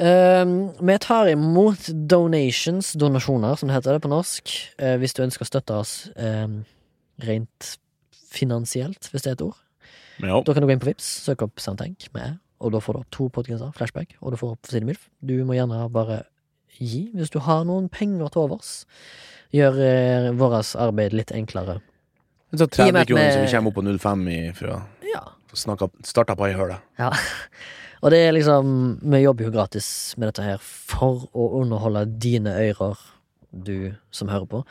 S1: Eh, vi tar imot donations, donasjoner, som det heter det på norsk. Eh, hvis du ønsker å støtte oss eh, rent finansielt, hvis det er et ord.
S2: Ja.
S1: Da kan du gå inn på Vips, søke opp Soundtank med, E, og da får du opp to podcaster, flashback, og du får opp Sidemilf. Du må gjerne bare gi, hvis du har noen penger til overs. Gjør eh, vårt arbeid litt enklere.
S2: Så
S1: I og med
S2: 30
S1: at
S2: kroner
S1: vi-
S2: som vi kommer opp på 05 i, fra
S1: Ja.
S2: snakka, starta på ei høle.
S1: ja. Og det er liksom Vi jobber jo gratis med dette her for å underholde dine ører, du som hører på,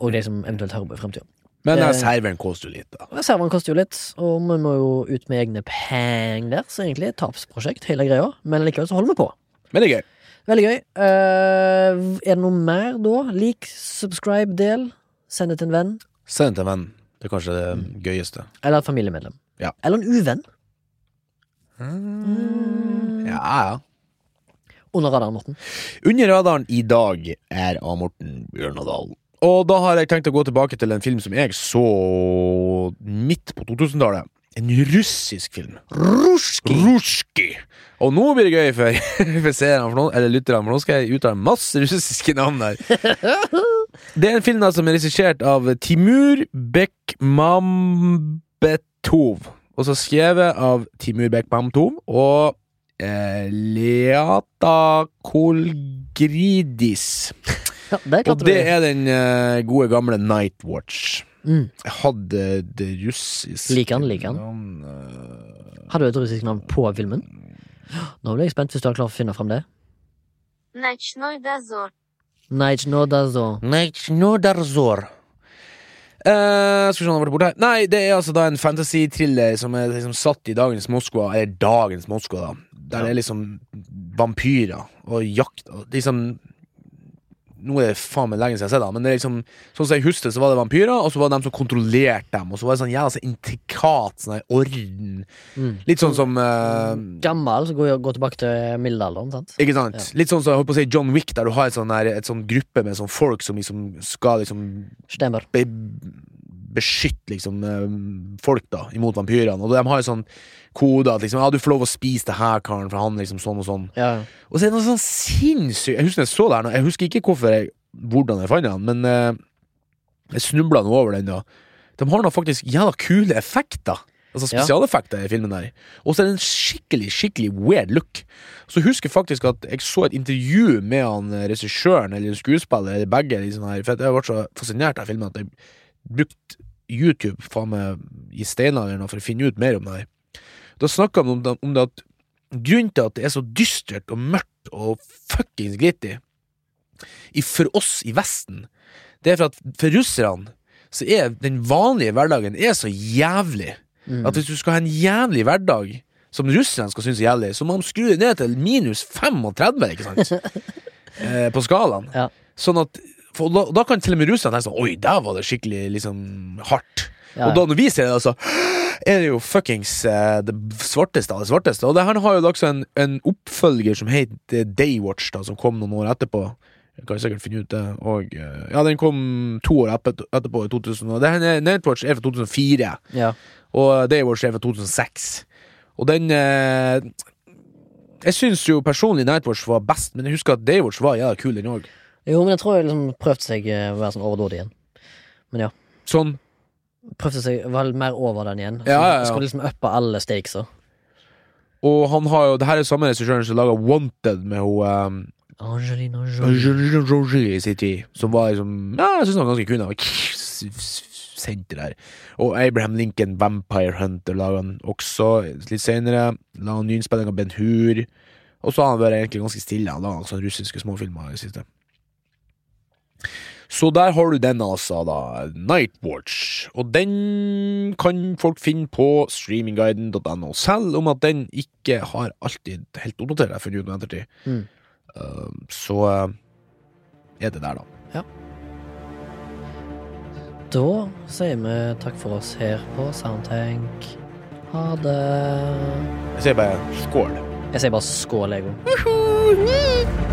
S1: og de som eventuelt hører på i fremtiden.
S2: Men
S1: Eh.
S2: jeg server en koster litt, da.
S1: Og Serveren koster jo litt, og vi må jo ut med egne peng der, så egentlig er det et tapsprosjekt, hele greia, men likevel så holder vi på.
S2: Men det er gøy.
S1: Veldig gøy. Eh, er det noe mer da? Lik, subscribe, del. Send det til en venn.
S2: Send den til en venn. Det er kanskje det gøyeste.
S1: Eller et familiemedlem.
S2: Ja.
S1: Eller en uvenn.
S2: Ja, ja.
S1: Under radaren, Morten.
S2: Under radaren i dag er av Morten Bjørnadal. Og da har jeg tenkt å gå tilbake til en film som jeg så midt på 2000-tallet. En russisk film. Ruski. Og nå blir det gøy for, for seerne, for nå, eller lytterne, for nå skal jeg uttale masse russiske navn her. Det er en film da, som er regissert av Timur Bekmambetov. Og så skrevet av Timur Bekmambetov og eh, Leata Kolgridis.
S1: Ja, der
S2: Og
S1: klarte du
S2: det
S1: det.
S2: er den eh, gode gamle Nightwatch.
S1: Mm.
S2: Jeg hadde det russiske
S1: Liker han, liker han.
S2: navnet.
S1: Har du et russisk navn på filmen? Nå ble jeg spent hvis du har klart å finne fram det.
S4: Ночной дозор.
S1: Nijnodazo.
S2: Nechnodarzor. Uh, skal vi se om det ble borte her Nei, det er altså da en fantasy-thriller som er liksom satt i dagens Moskva, eller dagens Moskva, da. Der det er liksom vampyrer og jakt og liksom Nå er det faen meg lenge siden jeg har sett det, men det er liksom Sånn som jeg husker, det, så var det vampyrer, og så var det dem som kontrollerte dem, og så var det sånn jævla så intrikat sånn her orden.
S1: Mm.
S2: Litt sånn som eh,
S1: Gammel, så går går tilbake til middelalderen, sant?
S2: ikke sant?
S1: Ja.
S2: Litt sånn som jeg holdt på å si John Wick, der du har en sånn, der, et sånn gruppe med sånn folk som liksom skal liksom
S1: Stemmer.
S2: be beskytte liksom, eh, folk da, imot vampyrene. Og de har jo sånn kode at liksom, ja, du får lov å spise det her karen, for han liksom sånn og sånn.
S1: Ja, ja.
S2: Og så er det noe sånn sinnssykt Jeg husker jeg så det her nå, jeg husker ikke hvorfor jeg, hvordan jeg fant den, men eh, jeg snubla nå over den da. De har nå faktisk jævla kule effekter. Altså
S1: Ja.
S2: Spesialeffekter i filmen der. Og så er det en skikkelig skikkelig weird look. Så jeg husker faktisk at jeg så et intervju med han eh, regissøren eller skuespiller, eller begge, eller sånn her, for jeg ble så fascinert av filmen at jeg brukte YouTube faen meg i steinalderen for å finne ut mer om det her. Da snakka han om det, om det at grunnen til at det er så dystert og mørkt og fuckings gritty i- for oss i Vesten, det er for at for russerne så er den vanlige hverdagen er så jævlig
S1: Mm.
S2: at hvis du skal ha en jævlig hverdag som russerne skal synes er jævlig, så må de skru det ned til minus 35, ikke sant? eh, på skalaen.
S1: Ja.
S2: Sånn at for da, da kan til og med russerne tenke sånn Oi, der var det skikkelig liksom hardt.
S1: Ja,
S2: Og da når vi ser det, altså er det jo fuckings eh, det svarteste av det svarteste. Og det her har jo også en, en oppfølger som het eh, Daywatch, da, som kom noen år etterpå. Jeg kan sikkert finne ut det. Og, eh, ja, den kom to år etter- etterpå, i 2000. Og det her er- Nightwatch er fra 2004,
S1: ja.
S2: og Daywatch er fra 2006. Og den eh, Jeg syns jo personlig Nightwatch var best, men jeg husker at Daywatch var jævla kul, den òg.
S1: Jo, men jeg tror jeg liksom prøvde seg eh, å være sånn overdådig igjen.
S2: Sånn
S1: Prøvde seg vel mer over den igjen.
S2: Ja, ja, ja.
S1: Skulle liksom uppe alle stakesa.
S2: Og han har jo Det her er samme regissøren som laga Wanted med hun eh,
S1: Angelina Jolie.
S2: Roger i sin tid, som var liksom Ja, jeg synes han var ganske kul. Han var Sendte der. Og Oh, Abraham Lincoln, Vampire Hunter, laga han også litt senere. La han nyinnspilling av Ben Hur. Og så har han vært egentlig ganske stille. Han laga sånne russiske småfilmer i det siste. Så der har du den, altså, da. Nightwatch. Og den kan folk finne på streamingguiden.no, selv om at den ikke har alltid helt oppdatert, har jeg funnet ut i ettertid så eh, er det der, da.
S1: Da sier vi takk for oss her på Soundtank. Ha det.
S2: Jeg sier bare skål.
S1: Jeg sier bare skål, Lego.